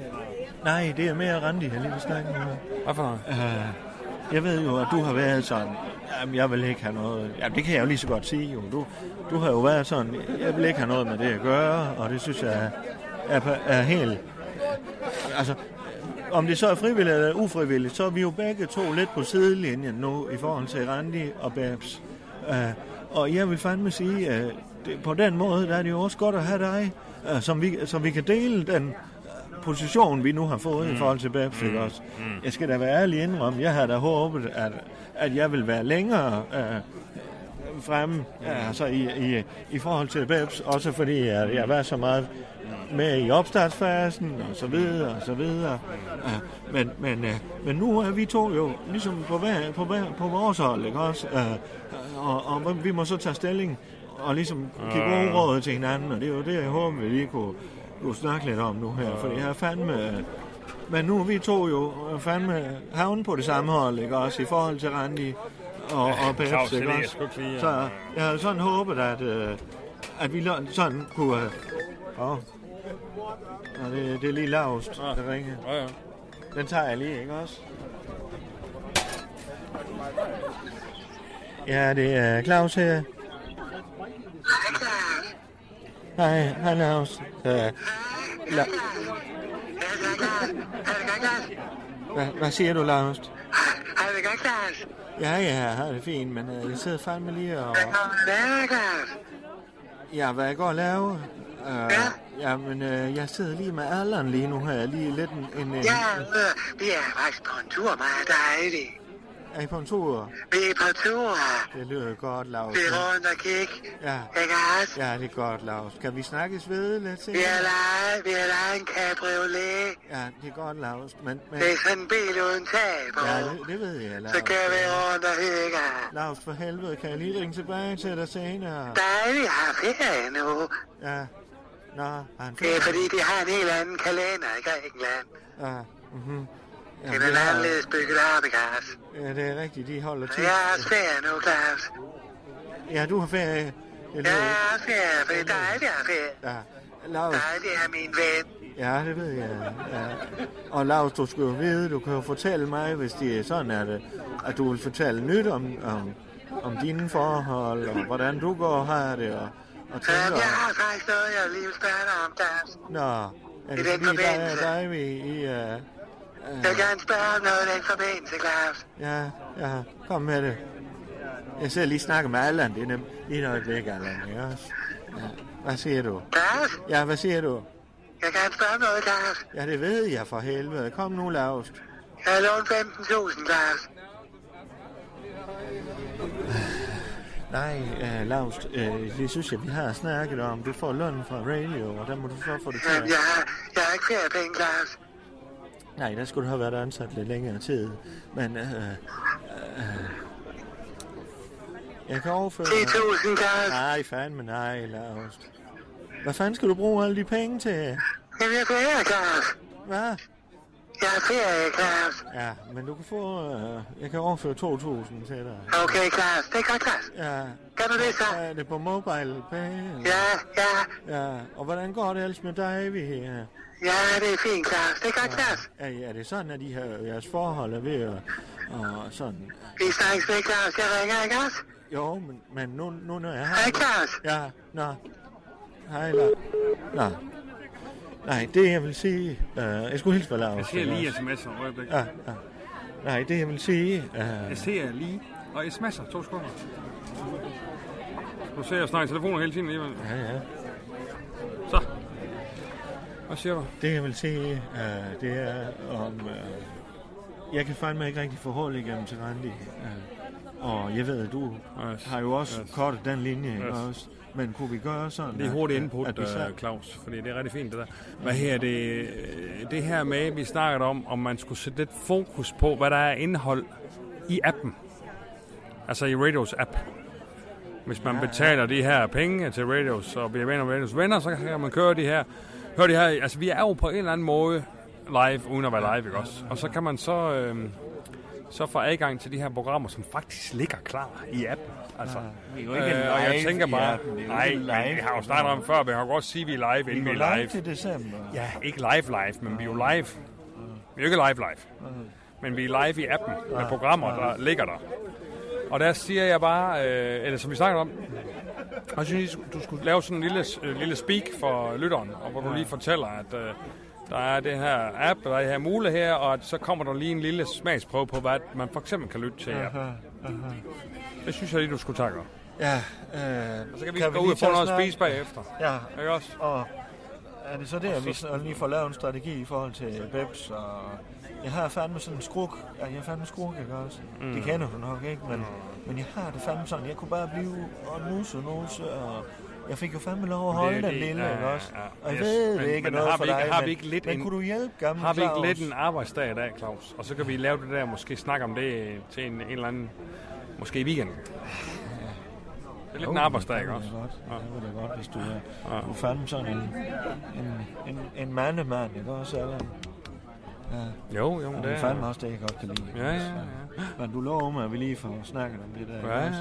Nej, det er mere Randi, jeg lige vil snakke med. Hvorfor? Uh, jeg ved jo, at du har været sådan, jamen jeg vil ikke have noget, jamen det kan jeg jo lige så godt sige jo, du, du har jo været sådan, jeg vil ikke have noget med det at gøre, og det synes jeg er, er, er helt, altså om det så er frivilligt eller ufrivilligt, så er vi jo begge to lidt på sidelinjen nu i forhold til Randi og Babs. Uh, og jeg vil fandme sige, at det, på den måde, der er det jo også godt at have dig, uh, som, vi, som vi kan dele den øh, position, vi nu har fået mm. i forhold til Babs, mm. også? Mm. Jeg skal da være ærlig indrømme, jeg havde da håbet, at, at jeg ville være længere uh, fremme uh, altså i, i, i forhold til Babs, også fordi at jeg var så meget med i opstartsfasen, og så videre, og så videre. Uh, men, men, uh, men nu er vi to jo ligesom på, hver, på, hver, på vores hold, ikke også? Uh, og, og vi må så tage stilling og ligesom give gode råd til hinanden, og det er jo det, jeg håber, vi lige kunne, kunne snakke lidt om nu her, for det her er fandme... øh, Men nu er vi to jo øh, fandme havne på det samme hold, ikke også? I forhold til Randi og, og Peps, Claus, det ikke ved jeg også? sgu ikke lige, Så øh. jeg havde sådan håbet, at, øh, at vi lø- sådan kunne... øh, Åh, oh. det, det er lige lavst, der ringer. Ja, ja. Den tager jeg lige, ikke også? Ja, det er Claus her. Hej, hej Claus. Øh, La- Hva, hvad siger du, Claus? Har du det godt, Claus? Ja, ja, har det fint, men øh, jeg sidder fandme lige og... Hvad er det, Claus? Ja, hvad jeg går og laver? Øh, ja, men øh, jeg sidder lige med Allan lige nu her, lige lidt en... en, en Ja, øh, vi er faktisk på en tur, mig og dig, Eddie. er I på en tur? Vi er på tur. Det lyder godt, Claus. Vi er rundt og kigge. Ja. Ikke også? Ja, det er godt, Claus. Kan vi snakkes ved lidt Vi har senere? lejet, vi har lejet en cabriolet. Ja, det er godt, Claus. Men, men... Det er sådan en bil uden tag på. Ja, det, det ved jeg, Claus. Så kører vi rundt og hygger. Claus, for helvede, kan jeg lige ringe tilbage til dig senere? Dejligt, har ferie nu. Ja. Nå, han Det er fordi, de har en helt anden kalender i Grækenland. Ja, mhm. Ja, Den er anderledes bygget op, ikke også? ja, det er rigtigt, de holder til. Jeg har også ferie nu, Claus. Ja, du har ferie. Ja, Ferbe, dejlig Ferbe. Ja, Laus. Dejlig er min ven. Ja, det ved jeg. Ja. Og Lars, du skal jo vide, du kan jo fortælle mig, hvis det er sådan, at, øh, at du vil fortælle nyt om, om, om dine forhold, og hvordan du går og har det, og, og Jamen, jeg tænker... har faktisk noget, jeg lige vil spørge dig om, Lars. Nå, er I det den fordi, der er forbindelse. dig, vi... I, uh, Jeg vil gerne spørge om noget i den forbindelse, Claus. ja, ja, kom med det. Jeg sidder lige og snakker med Allan, det er nemt. Lige et øjeblik, Allan, ikke også? Ja. Hvad siger du? Claus, Ja, hvad siger du? jeg kan spørge om noget, Claus. Ja, det ved jeg for helvede. Kom nu, Lars. Jeg har lånt 15.000, Claus. Nej, uh, Lars, uh, det synes jeg, vi har snakket om. Du får løn fra radio, og der må du så få det Jamen, til. jeg har, jeg har ikke flere penge, Claus. Nej, der skulle du have været ansat lidt længere tid. Men uh, uh, jeg kan overføre... 10.000, Claus. Nej, fandme nej, Lars. Hvad fanden skal du bruge alle de penge til? Jamen, jeg ferie, Claus. Hvad? Jeg har ferie, Claus. Ja, men du kan få... Uh, jeg kan overføre 2.000 til dig. Okay, Claus. Det er godt, Claus. Ja. Kan du det så? Er det på mobile pay? Eller? Ja, ja. Ja, og hvordan går det ellers med dig, vi her? Ja, det er fint, Claus. Det er godt, Claus. Er, er det sådan, at I har jeres forhold er ved at... Og sådan... Vi snakkes ved, Claus. Jeg ringer, ikke også? Jo, men, men nu, nu når jeg har... Hej, Claus. Ja, nå. Hej, La... Nå. Nej, det jeg vil sige... Øh, jeg skulle hilse på Lars. Jeg ser lige ikke også? sms'er et øjeblik. Ja, ja. Nej, det jeg vil sige... Øh, Jeg ser lige, og sms'er, to sekunder. Nu ser jeg og snakker i telefoner hele tiden alligevel. Ja, ja. Så. Hvad siger du? det jeg vil sige, øh, det er om... Øh, jeg kan fandme ikke rigtig få hul igennem til Randi. Øh, og jeg ved, at du yes. har jo også yes. kortet den linje, yes. Yes. også? Men kunne vi gøre sådan... Lige at- hurtigt at- input, at vi så- øh, Claus, fordi det er rigtig fint det der. Hvad her, det, øh, det her med, vi snakkede om, om man skulle sætte lidt fokus på, hvad der er indhold i appen. Altså i Radios app. Hvis man betaler de her penge til Radios og bliver venner med Radios venner, så kan man køre de her. Hør de her, altså vi er jo på en eller anden måde live, uden at være live, ikke også? Og så kan man så, øh, så få adgang til de her programmer, som faktisk ligger klar i appen. Altså, vi er jo ikke og jeg live tænker i bare, appen, det er jo nej, ikke nej, live. vi har jo snakket om før, men jeg kan godt sige, at vi er live, inden vi Vi går er live live. til december. Ja, ikke live live, men vi er jo live. Vi er jo ikke live live. Men vi er live i appen med programmer, der ligger der. Og der siger jeg bare, øh, eller som vi snakker om, og jeg synes, du skulle lave sådan en lille, øh, lille speak for lytteren, og hvor du lige fortæller, at øh, der er det her app, og der er det her mule her, og at så kommer der lige en lille smagsprøve på, hvad man for eksempel kan lytte til. i appen. Aha, aha. Det synes jeg lige, du skulle takke om. Ja, øh, Og så kan vi kan gå vi ud lige og få tage noget at snak? spise bagefter. Ja. Ikke også? Og er det så der, Og så- vi så lige får lavet en strategi i forhold til Bebs? Og jeg har fandme sådan en skruk. Ja, jeg har fandme en skruk, ikke også? Mm. Mm. Det kender du nok, ikke? Men, men jeg har det fandme sådan. Jeg kunne bare blive og nusse og nusse, og jeg fik jo fandme lov at Men det er holde jo den det, lille, ja, ikke ja, også? ja. Og jeg Yes, ved, men- det ikke er men noget har for vi ikke- dig, har vi men- ikke lidt men en- kunne du hjælpe gamle Har vi ikke Claus? lidt en arbejdsdag i dag, Claus? Og så kan vi lave det der, måske snakke om det til en, en eller anden, måske i weekenden. Det er lidt en Jo, arbejdsdag, ikke det også? kunne da Ja. godt. Det var da godt, hvis du er, Ja. du er fandme sådan en, en, en, en mandemand, ikke også, Allan? Ja. Jo, jo, Og det det er- er fandme også det, jeg godt kan lide. ikke Ja, også? ja, Men du lover mig, at vi lige får snakket om det der. ikke Ja, ja, også?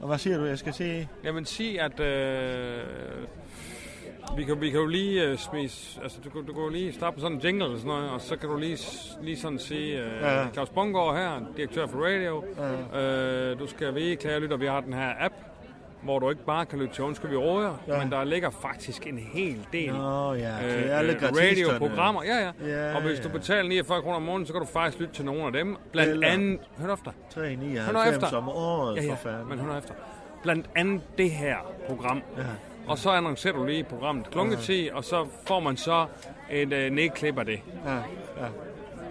Og hvad siger du, jeg skal sige? Jamen sig, at øh, vi, kan, vi kan jo lige øh, smise, altså du, kan- du kan jo lige starte på sådan en jingle eller sådan noget, og så kan du lige, s- lige sådan sige, øh, Ja. ja. Claus Bungård her, direktør for radio, ja. øh, du skal vide, kære lytter, vi har den her app, hvor du ikke bare kan lytte til Undskyld, vi råder, ja. men der ligger faktisk en hel del øh, Nå, ja, til alle gratisterne. radioprogrammer. Ja, ja. Ja, og hvis du ja. betaler 49 kroner om måneden, så kan du faktisk lytte til nogle af dem. Blandt Eller- andet, hør nu efter. 3,99 om året, ja, ja, for fanden. men hør nu efter. Blandt andet det her program. Ja. Og så annoncerer du lige programmet klokketid, ja. og så får man så et øh, nedklip af det. Ja, ja.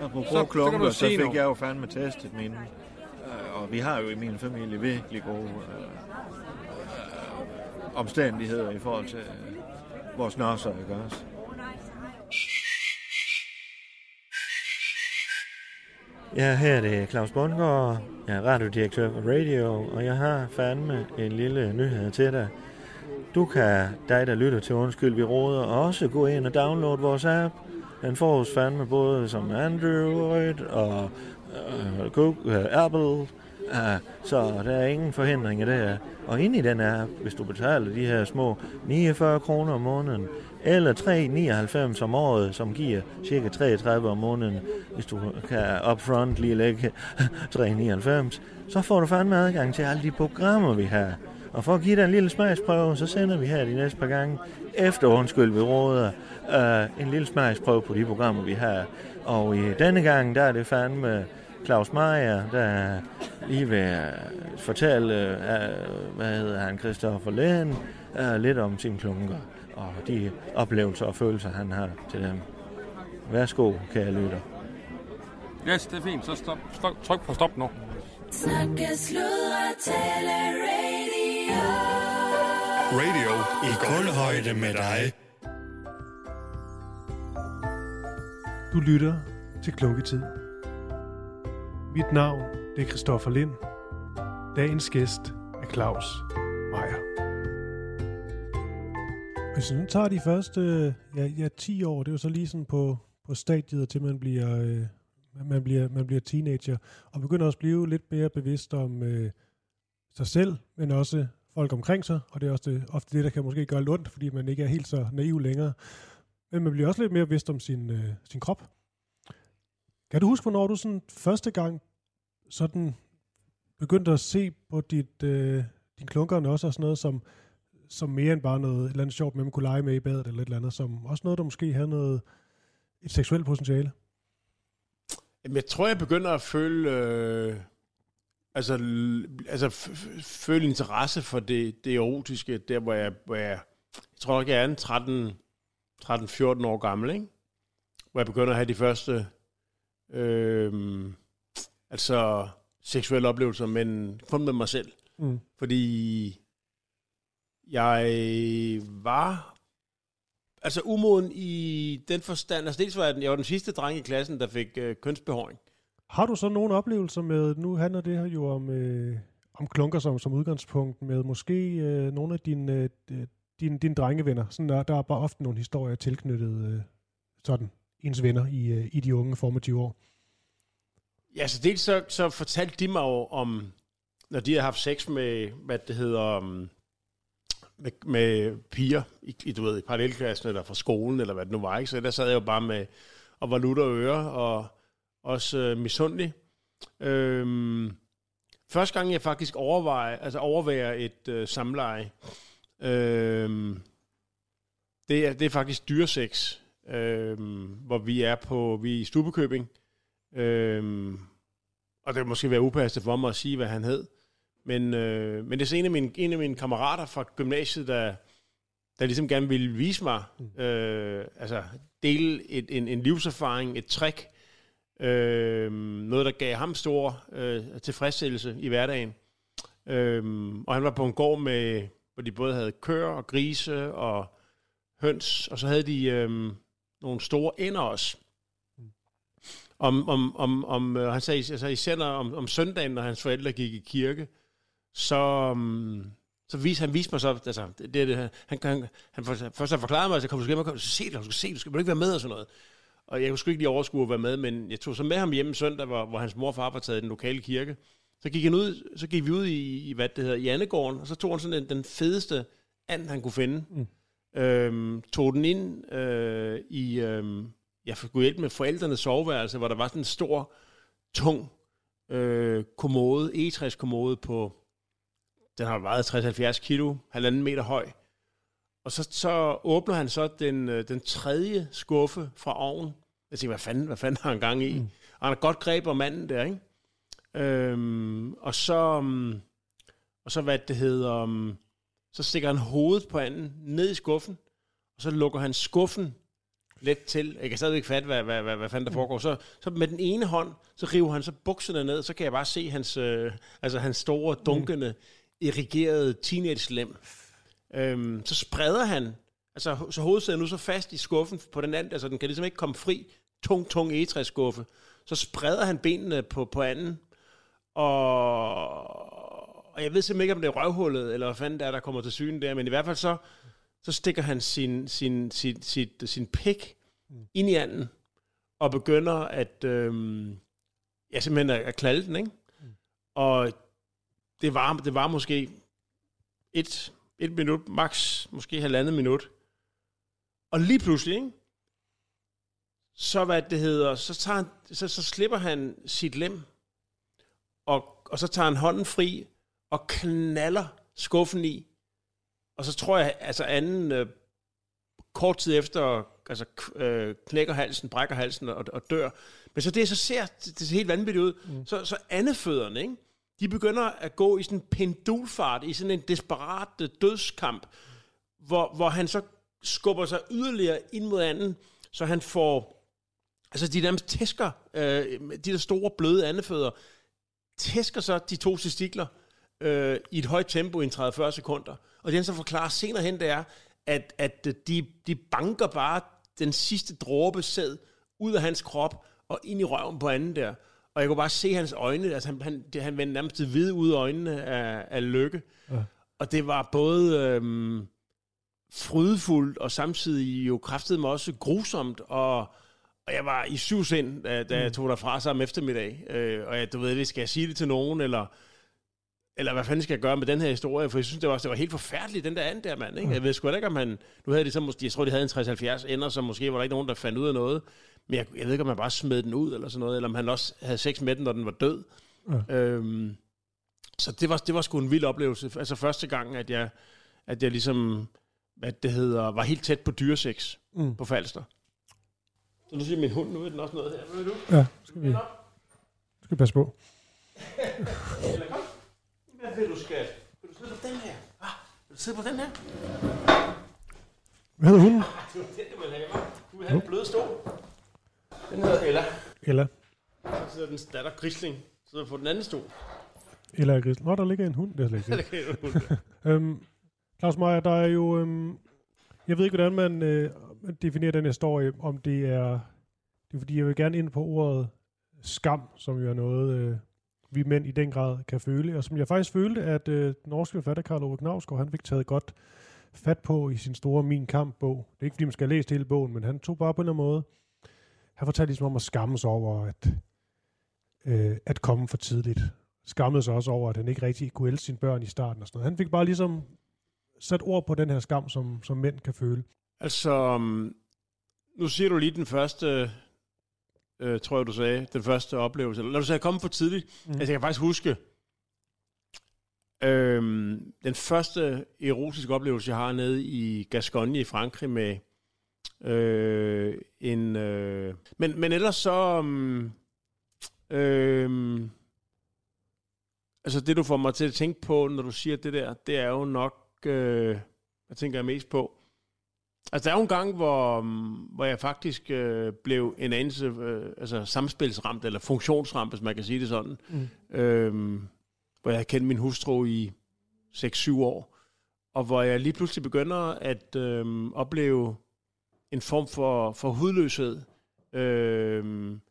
Apropos Så- så så, kan klunker, du så, sige fik noget. jeg jo fandme testet mine. Øh, og vi har jo i min familie virkelig gode øh, øh, omstændigheder i forhold til øh, vores nosser, ikke også? Ja, her er det Claus Bundgaard. Jeg er radiodirektør for Radio, og jeg har fandme en lille nyhed til dig. Du kan, dig der lytter til Undskyld, vi råder, også gå ind og downloade vores app. Den får os fandme både som Android og øh, Google, øh, Apple Uh, så der er ingen forhindringer der. Og inde i den app, hvis du betaler de her små 49 kroner om måneden, eller 3,99 om året, som giver cirka 33 om måneden, hvis du kan upfront lige lægge 3,99, så får du fandme adgang til alle de programmer, vi har. Og for at give dig en lille smagsprøve, så sender vi her de næste par gange, efter undskyld vi råder, øh, en lille smagsprøve på de programmer, vi har. Og i denne gang, der er det fandme Claus Meier, der lige vil øh, fortælle, øh, hvad hedder han, Christoffer Lægen, øh, lidt om sine klunker og de oplevelser og følelser, han har til dem. Værsgo, kære lytter. Yes, det er fint. Så stop, stop, tryk på stop nu. Snakke, sludre, tale, radio. Radio i guldhøjde med dig. Du lytter til Klunketid. Mit navn det er Christoffer Lind. Dagens gæst er Claus Meier. Hvis nu tager de første øh, ja, ja, 10 år, det er jo så lige sådan på, på stadiet, til man bliver, øh, man, bliver, man bliver teenager, og begynder også at blive lidt mere bevidst om øh, sig selv, men også folk omkring sig, og det er også det, ofte det, der kan måske gøre lidt ondt, fordi man ikke er helt så naiv længere. Men man bliver også lidt mere bevidst om sin, øh, sin krop. Kan du huske, hvornår du sådan første gang sådan begyndte at se på dit, øh, din klunkerne også, og sådan noget som, som mere end bare noget et eller andet sjovt, man kunne lege med i badet eller et eller andet, som også noget, der måske havde noget, et seksuelt potentiale? Jamen, jeg tror, jeg begynder at føle, øh, altså, l- altså f- f- føle interesse for det, det erotiske, der hvor jeg, hvor jeg, jeg tror nok, jeg er en 13, 13-14 år gammel, ikke? Hvor jeg begynder at have de første, øh, altså seksuelle oplevelser, men kun med mig selv. Mm. Fordi jeg var altså umoden i den forstand, altså dels var jeg den, jeg var den sidste dreng i klassen, der fik øh, kønsbehåring. Har du så nogle oplevelser med, nu handler det her jo om, øh, om klunker som, som udgangspunkt, med måske øh, nogle af dine, øh, d- dine, dine drengevenner? Sådan der, der er bare ofte nogle historier tilknyttet øh, sådan ens venner i, øh, i de unge formative år. Ja, så dels så, så fortalte de mig jo om, når de har haft sex med, hvad det hedder, um, med, med piger, i, i, du ved, i parallelklassen eller fra skolen, eller hvad det nu var, ikke? Så der sad jeg jo bare med, og var lutter og ører, og også øh, misundelig. Øhm, første gang jeg faktisk overvejer, altså overvejer et øh, samleje, øhm, det, er, det er faktisk dyresex, øhm, hvor vi er på, vi er i Stubekøbing, Øhm, og det vil måske være upassende for mig at sige, hvad han hed. Men, øh, men det er så en af, mine, en af mine kammerater fra gymnasiet, der, der ligesom gerne ville vise mig, øh, altså dele et, en, en livserfaring, et trick, øh, noget, der gav ham stor øh, tilfredsstillelse i hverdagen. Øh, og han var på en gård, med, hvor de både havde køer og grise og høns, og så havde de øh, nogle store ender også om, om, om, om øh, han sagde, altså især når, om, om søndagen, når hans forældre gik i kirke, så, um, så vis, han viste mig så, altså, det, det, han, han, han, han for- først han forklarede mig, at jeg kom du skal hjem og kom, så se det, du skal se, du skal, vil du ikke være med og sådan noget. Og jeg kunne sgu ikke lige overskue at være med, men jeg tog så med ham hjem søndag, hvor, hvor hans mor og far var taget i den lokale kirke. Så gik, han ud, så gik vi ud i, i hvad det hedder, i Annegården, og så tog han sådan den, den fedeste and, han kunne finde. Mm. Øhm, tog den ind øh, i, øhm, jeg skulle hjælpe med forældrenes soveværelse, hvor der var sådan en stor, tung øh, kommode, egetræskommode på, den har vejet 60-70 kilo, halvanden meter høj. Og så, så åbner han så den, øh, den tredje skuffe fra ovnen. Jeg tænker, hvad fanden, hvad fanden har han gang i? Mm. Og han har godt greb om manden der, ikke? Øhm, og så, um, og så hvad det hedder, um, så stikker han hovedet på anden ned i skuffen, og så lukker han skuffen let til. Jeg kan stadigvæk ikke fatte, hvad, hvad, hvad, hvad fanden der foregår. Så, så med den ene hånd, så river han så bukserne ned, så kan jeg bare se hans, øh, altså hans store, dunkende, erigerede teenage-lem. Øhm, så spreder han, altså ho- så hovedet sidder nu så fast i skuffen på den anden, altså den kan ligesom ikke komme fri, tung, tung egetræsskuffe. Så spreder han benene på, på anden, og, og jeg ved simpelthen ikke, om det er røvhullet, eller hvad fanden der, der kommer til syne der, men i hvert fald så, så stikker han sin, sin, sin, sit, sin pik ind i anden, og begynder at, øhm, ja, simpelthen at, at knalde den, ikke? Og det var, det var måske et, et minut, max måske halvandet minut. Og lige pludselig, ikke? så hvad det hedder, så, tager han, så, så slipper han sit lem, og, og så tager han hånden fri, og knaller skuffen i. Og så tror jeg, altså anden, øh, kort tid efter, altså k- øh, knækker halsen, brækker halsen og, og dør. Men så det, så ser det, det ser helt vanvittigt ud. Mm. Så, så andefødderne, ikke? de begynder at gå i sådan en pendulfart, i sådan en desperat øh, dødskamp, hvor, hvor han så skubber sig yderligere ind mod anden, så han får, altså de der tæsker, øh, de der store bløde andefødder, tæsker så de to testikler øh, i et højt tempo i en 30-40 sekunder. Og det han så forklarer senere hen, det er, at, at øh, de, de banker bare den sidste dråbe sæd ud af hans krop og ind i røven på anden der. Og jeg kunne bare se hans øjne, altså han, han, det, han vendte nærmest til hvide ud af øjnene af, af lykke. Ja. Og det var både øhm, frydefuldt og samtidig jo kræftede mig også grusomt. Og, og jeg var i syv sind, da, da Mm. jeg tog derfra samme eftermiddag. Øh, og jeg, du ved det, skal jeg sige det til nogen, eller eller hvad fanden skal jeg gøre med den her historie? For jeg synes, det var, det var helt forfærdeligt, den der anden der mand. Ikke? Jeg ved sgu heller ikke, om han... Nu havde de så måske, jeg tror, de havde en 60-70 ender, så måske var der ikke nogen, der fandt ud af noget. Men jeg, jeg ved ikke, om han bare smed den ud eller sådan noget, eller om han også havde sex med den, når den var død. Ja. Øhm, så det var, det var sgu en vild oplevelse. Altså første gang, at jeg, at jeg ligesom, hvad det hedder, var helt tæt på dyresex Mm. mm. på Falster. Så nu siger min hund, nu er den også noget her. Ved du? Ja, skal vi, skal vi passe på. Eller kom. Hvad vil du, skat? Vil du sidde på den her? Ah, vil du sidde på den her? Hvad hedder hunden? Det var den, du ville have, hva'? Du ville have en blød stol. Den hedder Ella. Ella. Så sidder den datter Grisling. Så sidder på den anden stol. Eller grisen. Nå, der ligger en hund. Det er slet Der ligger en hund, ikke øhm, Claus Meier, der er jo... Øhm, jeg ved ikke, hvordan man øh, definerer den historie, om det er... Det er fordi, jeg vil gerne ind på ordet skam, som jo er noget, øh, vi mænd i den grad kan føle, og som jeg faktisk følte, at øh, den norske forfatter Karl Ove Knavsgaard, han fik taget godt fat på i sin store Min Kamp-bog. Det er ikke, fordi man skal læse hele bogen, men han tog bare på en eller anden måde. Han fortalte ligesom om at skamme sig over, at øh, at komme for tidligt. Skammede sig også over, at han ikke rigtig kunne elske sine børn i starten og sådan noget. Han fik bare ligesom sat ord på den her skam, som, som mænd kan føle. Altså, mm, nu siger du lige den første, øh, tror jeg du sagde, den første oplevelse. Eller du sagde, komme for tidligt. Mm. Altså, jeg kan faktisk huske, øhm, den første erotiske oplevelse, jeg har nede i Gascogne i Frankrig med øh, en... Øh, men, men ellers så... Um, øhm, altså, det du får mig til at tænke på, når du siger det der, det er jo nok... Øh, hvad tænker jeg mest på? Altså, der er jo en gang, hvor, mm, hvor jeg faktisk øh, blev en anelse øh, altså, samspilsramt, eller funktionsramt, hvis man kan sige det sådan. Mm. Øhm, hvor jeg har kendt min hustru i 6-7 år, og hvor jeg lige pludselig begynder at øhm, opleve en form for, for hudløshed. Øhm,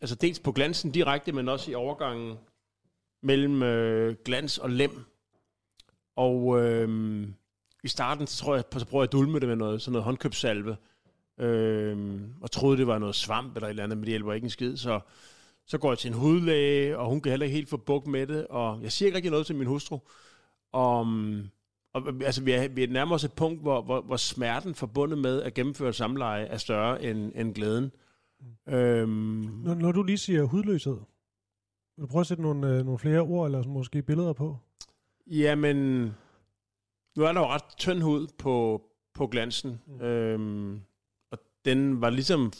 altså dels på glansen direkte, men også i overgangen mellem øh, glans og lem. Og øhm, i starten, så tror jeg, så prøver jeg at dulme det med noget, sådan noget håndkøbssalve. Øhm, og troede, det var noget svamp eller et eller andet, men det hjælper ikke en skid. Så, så går jeg til en hudlæge, og hun kan heller ikke helt få bukt med det. Og jeg siger ikke rigtig noget til min hustru. Og, og altså, vi, er, vi er nærmere os et punkt, hvor, hvor, hvor smerten forbundet med at gennemføre et samleje er større end, end glæden. Øhm, Når, når du lige siger hudløshed, vil du prøve at sætte nogle, øh, nogle flere ord eller sådan måske billeder på? Jamen, nu er der jo ret tynd hud på, på glansen. Mm. Øhm, og den var ligesom...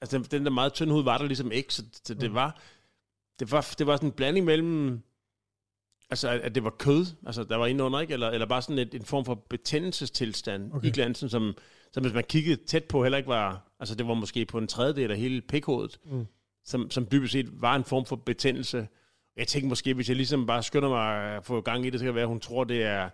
Altså, den- den der meget tynde hud var der ligesom ikke, så, så det, var, det var... Det var sådan en blanding mellem... Altså, at at det var kød, altså der var indenunder, ikke? Eller, eller bare sådan et, en form for betændelsestilstand okay. i glansen, som, som hvis man kiggede tæt på, heller ikke var... Altså, det var måske på en tredjedel af hele pikhovedet Mm. som, som dybest set var en form for betændelse. Jeg tænkte måske, hvis jeg ligesom bare skynder mig at få gang i det, så kan det være, at hun tror, det er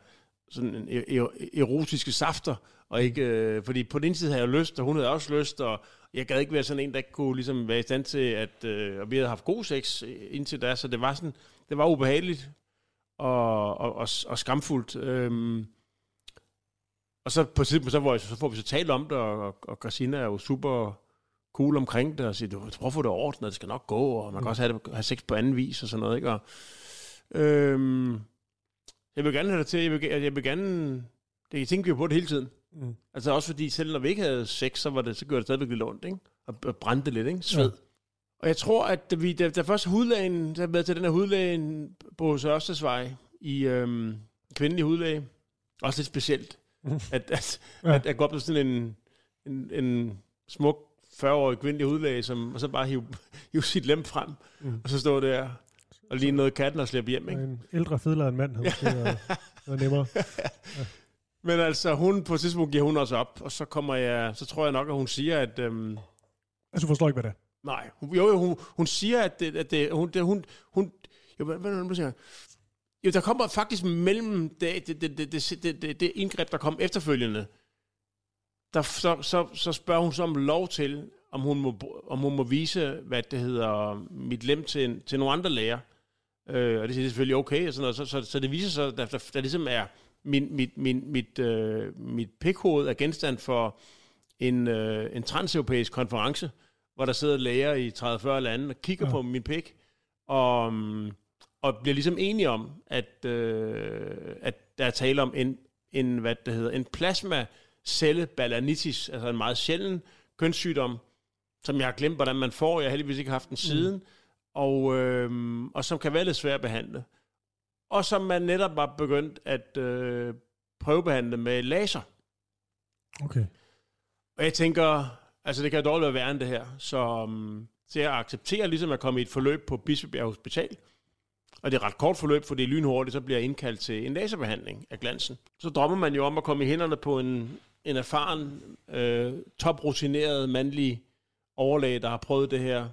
sådan en er- er- erotiske safter, og ikke, øh, fordi på den ene side havde jeg lyst, og hun havde også lyst, og jeg gad ikke være sådan en, der ikke kunne ligesom være i stand til, at øh, og vi havde haft god sex øh, indtil da, så det var sådan, det var ubehageligt og, og, og, og skamfuldt. Øhm, og så på et tidspunkt, så, hvor jeg, så får vi så talt om det, og, og Christina er jo super cool omkring det, og siger, du prøv at få det ordnet, det skal nok gå, og man kan også have, det, have sex på anden vis, og sådan noget, ikke? Og, Øhm, jeg vil gerne have dig til, jeg vil, ge- jeg vil gerne, det jeg tænker vi jo på det hele tiden. Mm. Mm. Altså også fordi, selv når vi ikke havde sex, så, var det, så gjorde det stadigvæk lidt ondt, ikke? Og, og brændte lidt, ikke? Sved. Ja. Ja. Og jeg tror, at da, vi, da, da først hudlægen, der med til den her hudlægen på Sørstesvej, i øhm, kvindelig hudlæge, også lidt specielt, Mm. at, at, Ja. ja. at, at gå op til sådan en, en, en smuk 40-årig kvindelig hudlæge, som, og så bare hive, hive sit lem frem, Mm. mm. og så stå der og lige noget katten og slæbe hjem, ikke? En ældre fedlere end mand havde måske været, været nemmere. Ja. Men altså, hun, på et tidspunkt giver hun også op, og så kommer jeg, så tror jeg nok, at hun siger, at... Øhm, Altså, du forstår ikke, hvad det er. nej, hun, jo, jo, hun, hun siger, at, det, at det, hun, det, hun, hun, jo, hvad, hvad, hvad, hvad siger jeg? jo, der kommer faktisk mellem det, det, det, det, det, det, det, det indgreb, der kom efterfølgende, der, så, så, så spørger hun så om lov til, om hun må, br- om hun må vise, hvad det hedder, mit lem til, en- til nogle andre læger. Øh, og det siger de selvfølgelig okay, og sådan noget. Så, så, så det viser sig, at der, der, der ligesom er, min, mit, min, mit, øh, mit pikhoved er genstand for en, øh, en transeuropæisk konference, hvor der sidder læger i 30-40 lande og kigger Ja. ja. på min pik, og, mm, og bliver ligesom enige om, at, øh, at der er tale om en, en, hvad det hedder, en plasmacelleballanitis, altså en meget sjælden kønssygdom, som jeg har glemt, hvordan man får. Jeg har heldigvis ikke haft den siden. Mm. Og, øh, og som kan være lidt svær at behandle. Og som man netop var begyndt at øh, prøvebehandle med laser. Okay. Og jeg tænker, altså det kan jo dårligt være værre end det her. Så, um, så jeg accepterer ligesom at komme i et forløb på Bispebjerg Hospital. Og det er et ret kort forløb, for det er lynhurtigt, så bliver jeg indkaldt til en laserbehandling af glansen. Så drømmer man jo om at komme i hænderne på en, en erfaren, øh, toprutineret mandlig overlæge, der har prøvet det her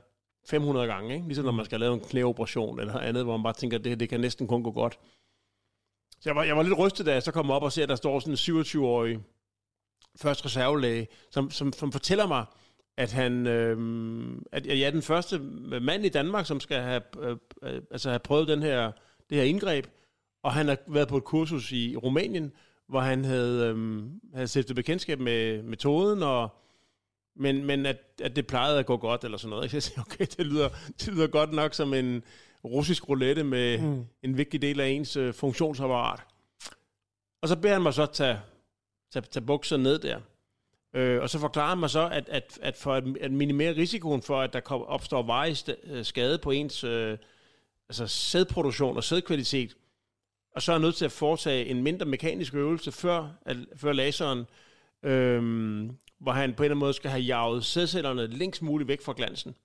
500 gange. Ikke? Ligesom når man skal lave en knæoperation eller andet, hvor man bare tænker, at det, her, det kan næsten kun gå godt. Så jeg var, jeg var lidt rystet, da jeg så kom op og ser, at der står sådan en 27-årig første reservelæge, som, som, som fortæller mig, at han, øh, at jeg er den første mand i Danmark, som skal have, øh, øh, altså have prøvet den her, det her indgreb, og han har været på et kursus i Rumænien, hvor han havde, øh, havde stiftet bekendtskab med metoden, og men, men at, at det plejede at gå godt, eller sådan noget. ikke? Så Jeg siger, okay, det lyder, det lyder godt nok som en russisk roulette med Mm. mm. en vigtig del af ens øh, funktionsapparat. Og så beder han mig så tage, tage, tage bukser ned der. Øh, og så forklarer han mig så, at, at, at for at, at minimere risikoen for, at der kom, opstår varig sta- øh, skade på ens øh, altså sædproduktion og sædkvalitet, og så er jeg nødt til at foretage en mindre mekanisk øvelse før, at, før laseren, øhm, hvor han på en eller anden måde skal have jaget sædcellerne længst muligt væk fra glansen.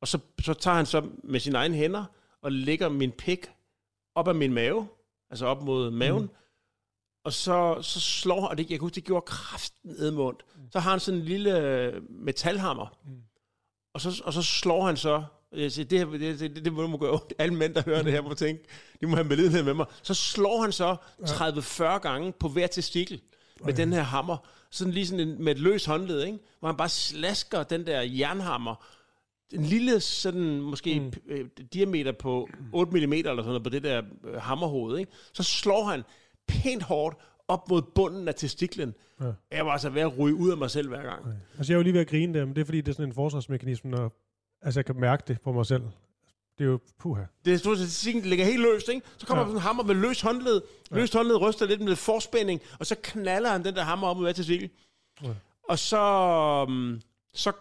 Og så, så tager han så med sine egne hænder og lægger min pik op af min mave, altså op mod maven, mm. og så, så slår han, og det, jeg kan huske, det gjorde kraften edmundt. Så har han sådan en lille øh, metalhammer, og så, og så slår han så, jeg siger, det, her, det, det, det, det må gøre ondt. Alle mænd, der hører det her, må tænke, de må have medlidenhed med mig. Så slår han så 30-40 gange på hver testikel med den her hammer. Sådan lige sådan en, med et løs håndled, ikke? hvor han bare slasker den der jernhammer. En lille sådan, måske mm. øh, diameter på 8 mm eller sådan noget, på det der øh, hammerhoved. Ikke? Så slår han pænt hårdt op mod bunden af testiklen. Ja. Ja. Jeg var altså ved at ryge ud af mig selv hver gang. Altså, jeg er jo lige ved at grine der, men det er, fordi det er sådan en forsvarsmekanisme, når altså, jeg kan mærke det på mig selv. Det er jo puha. Det er stort set statistikken, ligger helt løst, ikke? Så kommer ja. Ja. sådan en hammer med løs håndled. Løst håndled ryster lidt med lidt forspænding, og så knaller han den der hammer op med til cykel. Ja. Ja. Og så... øhm, Så,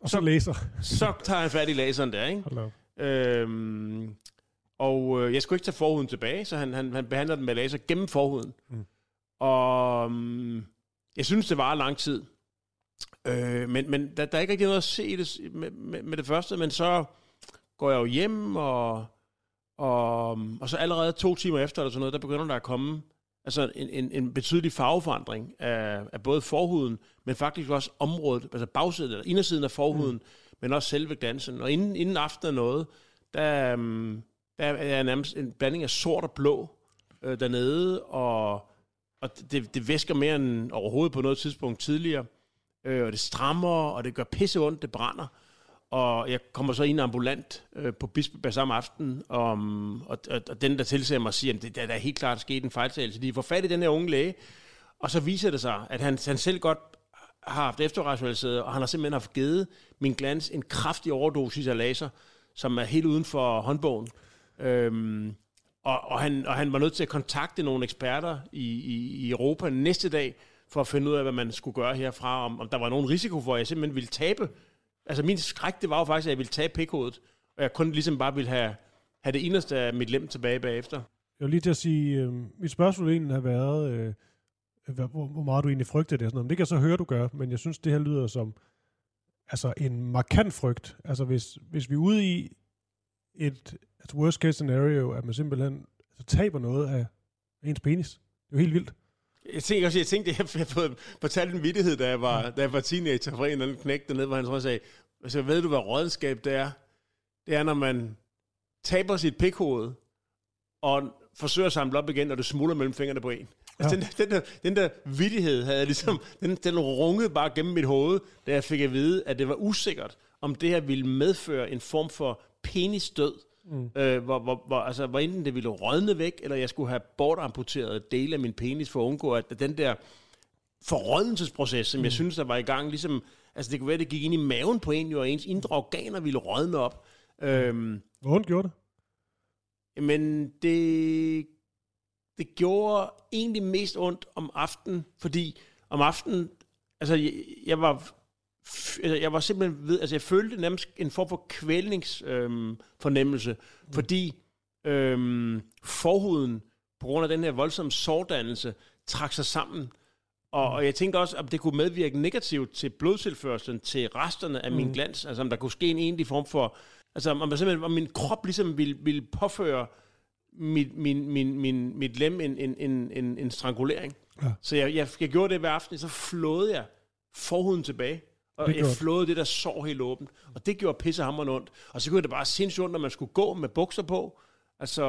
Og så, læser. så tager han fat i laseren der, ikke? Hold Øhm, og øh, jeg skulle ikke tage forhuden tilbage, så han, han, han behandler den med laser gennem forhuden. Mm. Mm. Og øhm, jeg synes, det varer lang tid. Øh, men men der, der er ikke rigtig noget at se i det, s- med, med, med det første, men så går jeg jo hjem, og, og, og så allerede to timer efter, eller sådan noget, der begynder der at komme altså en, en, en betydelig farveforandring af, af både forhuden, men faktisk også området, altså bagsiden, eller indersiden af forhuden, mm. men også selve glansen. Og inden, inden aftenen er noget, der, øhm, der er nærmest en blanding af sort og blå øh, dernede, og, og det, det væsker mere end overhovedet på noget tidspunkt tidligere. Øh, og det strammer, og det gør pisse ondt, det brænder. Og jeg kommer så ind ambulant øh, på Bispebjerg samme aften, om, og, og, og den, der tilser mig, siger, at det, der, der er helt klart sket en fejltagelse. De får fat i den her unge læge, og så viser det sig, at han, han selv godt har haft efterrationaliseret, og han har simpelthen haft givet min glans en kraftig overdosis af laser, som er helt uden for håndbogen. Øhm, Og, og, han, og han var nødt til at kontakte nogle eksperter i, i, i Europa næste dag, for at finde ud af, hvad man skulle gøre herfra, om, om der var nogen risiko for, at jeg simpelthen ville tabe. Altså min skræk, det var jo faktisk, at jeg ville tabe pikkodet, og jeg kun ligesom bare ville have, have det eneste af mit lem tilbage bagefter. Jeg var lige til at sige, øh, mit spørgsmål egentlig har været, øh, hvad- hvor, hvor meget du egentlig frygter det og sådan noget. Men det kan jeg så høre, du gør, men jeg synes, det her lyder som altså en markant frygt. Altså hvis, hvis vi er ude i et, et worst case scenario, at man simpelthen altså, taber noget af ens penis. Det er jo helt vildt. Jeg tænkte også, jeg tænkte, at jeg havde fået fortalt en vittighed, da jeg var, da jeg var teenager fra en eller anden knæk dernede, hvor han så sagde, altså ved du, hvad rådenskab det er? Det er, når man taber sit pikhoved, og forsøger at samle op igen, og det smuldrer mellem fingrene på en. Altså, ja. den, der- den, der, den der vittighed havde jeg ligesom, den, den rungede bare gennem mit hoved, da jeg fik at vide, at det var usikkert, om det her ville medføre en form for penisdød, Mm. øh, hvor, hvor, hvor, altså, hvor enten det ville rådne væk, eller jeg skulle have bortamputeret dele af min penis for at undgå, at den der forrådnelsesproces, som mm. jeg synes, der var i gang, ligesom, altså det kunne være, at det gik ind i maven på en, jo, og ens indre organer ville rådne op. Øhm, Mm. Hvor ondt gjorde det? men det, det gjorde egentlig mest ondt om aftenen, fordi om aftenen, altså jeg, jeg var f- altså, jeg var simpelthen ved, altså jeg følte nærmest en form for kvælningsfornemmelse, øhm, fornemmelse, fordi øhm, forhuden, på grund af den her voldsomme sårdannelse, trak sig sammen. Og, og jeg tænkte også, om det kunne medvirke negativt til blodtilførselen, til resterne af min Mm. glans, altså om der kunne ske en egentlig form for, altså om, der simpelthen, om min krop ligesom ville, ville påføre mit, min, min, min, mit lem en, en, en, en, en strangulering. Ja. Så jeg, jeg, jeg gjorde det hver aften, så flåede jeg forhuden tilbage, og Det jeg gjorde du. flåede det der sår helt åbent, og det gjorde pissehammeren ondt. Og så gjorde det bare sindssygt ondt, når man skulle gå med bukser på. Altså,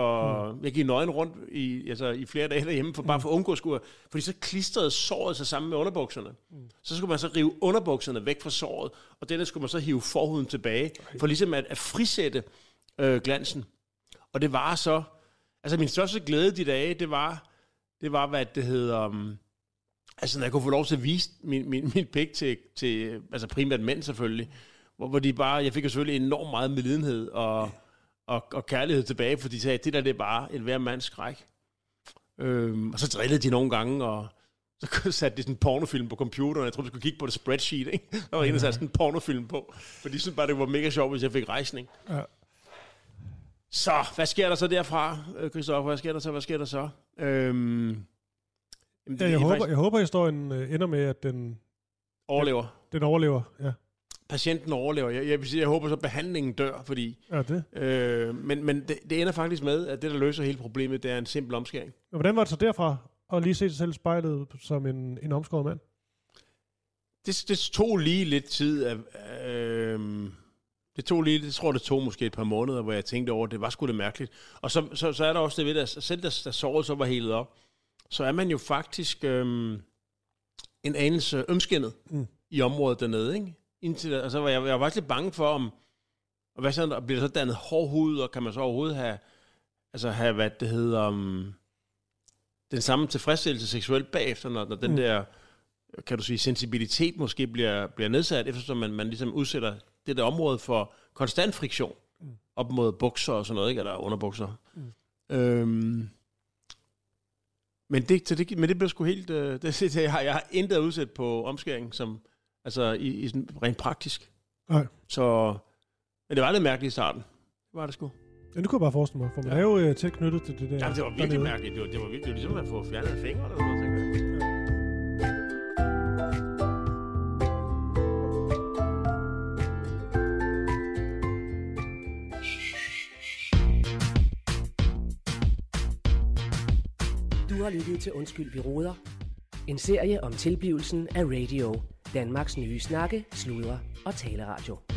mm. jeg gik nøgen rundt i, altså, i flere dage derhjemme, for bare for at undgå at skulle, fordi så klistrede såret sig sammen med underbukserne. Mm. Så skulle man så rive underbukserne væk fra såret, og denne skulle man så hive forhuden tilbage, for ligesom at, at frisætte øh, glansen. Og det var så, altså min største glæde de dage, det var, det var hvad det hedder, um, altså når jeg kunne få lov til at vise min, min, min pik til, til, altså primært mænd selvfølgelig, hvor, hvor de bare, jeg fik jo selvfølgelig enormt meget medlidenhed og, og, og kærlighed tilbage, for de sagde, det der det er bare en hver mands skræk. Øhm, og så drillede de nogle gange, og så satte de sådan en pornofilm på computeren, jeg tror, du skulle kigge på det spreadsheet, ikke? Der var en, der satte sådan en pornofilm på, for de syntes bare, det var mega sjovt, hvis jeg fik rejsning. Ja. Så, hvad sker der så derfra, øh, Christoffer? Hvad sker der så? Hvad sker der så? Øhm, jamen, det Ja, er jeg, håber, faktisk- jeg håber, historien øh, ender med, at den Overlever. Den, den overlever, ja. Patienten overlever. Jeg, jeg, vil sige, jeg håber så, at behandlingen dør, fordi... Ja, det. Øh, men men det, det ender faktisk med, at det, der løser hele problemet, det er en simpel omskæring. Men hvordan var det så derfra at lige se sig selv i spejlet som en, en omskåret mand? Det, det tog lige lidt tid af... Øh, det tog lige, det tror jeg, det tog måske et par måneder, hvor jeg tænkte over, at det var sgu det mærkeligt. Og så, så, så er der også det ved, at selv da, da såret så var helet op, så er man jo faktisk øh, en anelse ømskindet Mm. mm. i området dernede, ikke? Indtil, da- og så var jeg, jeg var faktisk lidt bange for, om og hvad så, og bliver der så dannet hård hud, og kan man så overhovedet have, altså have, hvad det hedder, um, den samme tilfredsstillelse seksuelt bagefter, når, når den Mm. der, kan du sige, sensibilitet måske bliver, bliver nedsat, eftersom man, man ligesom udsætter det der område for konstant friktion, Mm. op mod bukser og sådan noget, ikke? eller underbukser. Mm. Øhm, men, det, så det, men det blev sgu helt... Øh, det, det, jeg, har, jeg har intet udsat på omskæring, som, altså i, i sådan, rent praktisk. Nej. Så, men det var lidt mærkeligt i starten. Det var det sgu. Ja, det kunne jeg bare forestille mig, for man ja. er jo øh, tæt knyttet til det der. Ja, det var virkelig dernede. mærkeligt. Det var, det var, virkelig, det var ligesom at få fjernet fingre eller sådan noget. tænker jeg. Du har lyttet til Undskyld, vi råder. En serie om tilblivelsen af radio. Danmarks nye snakke, sludre og taleradio.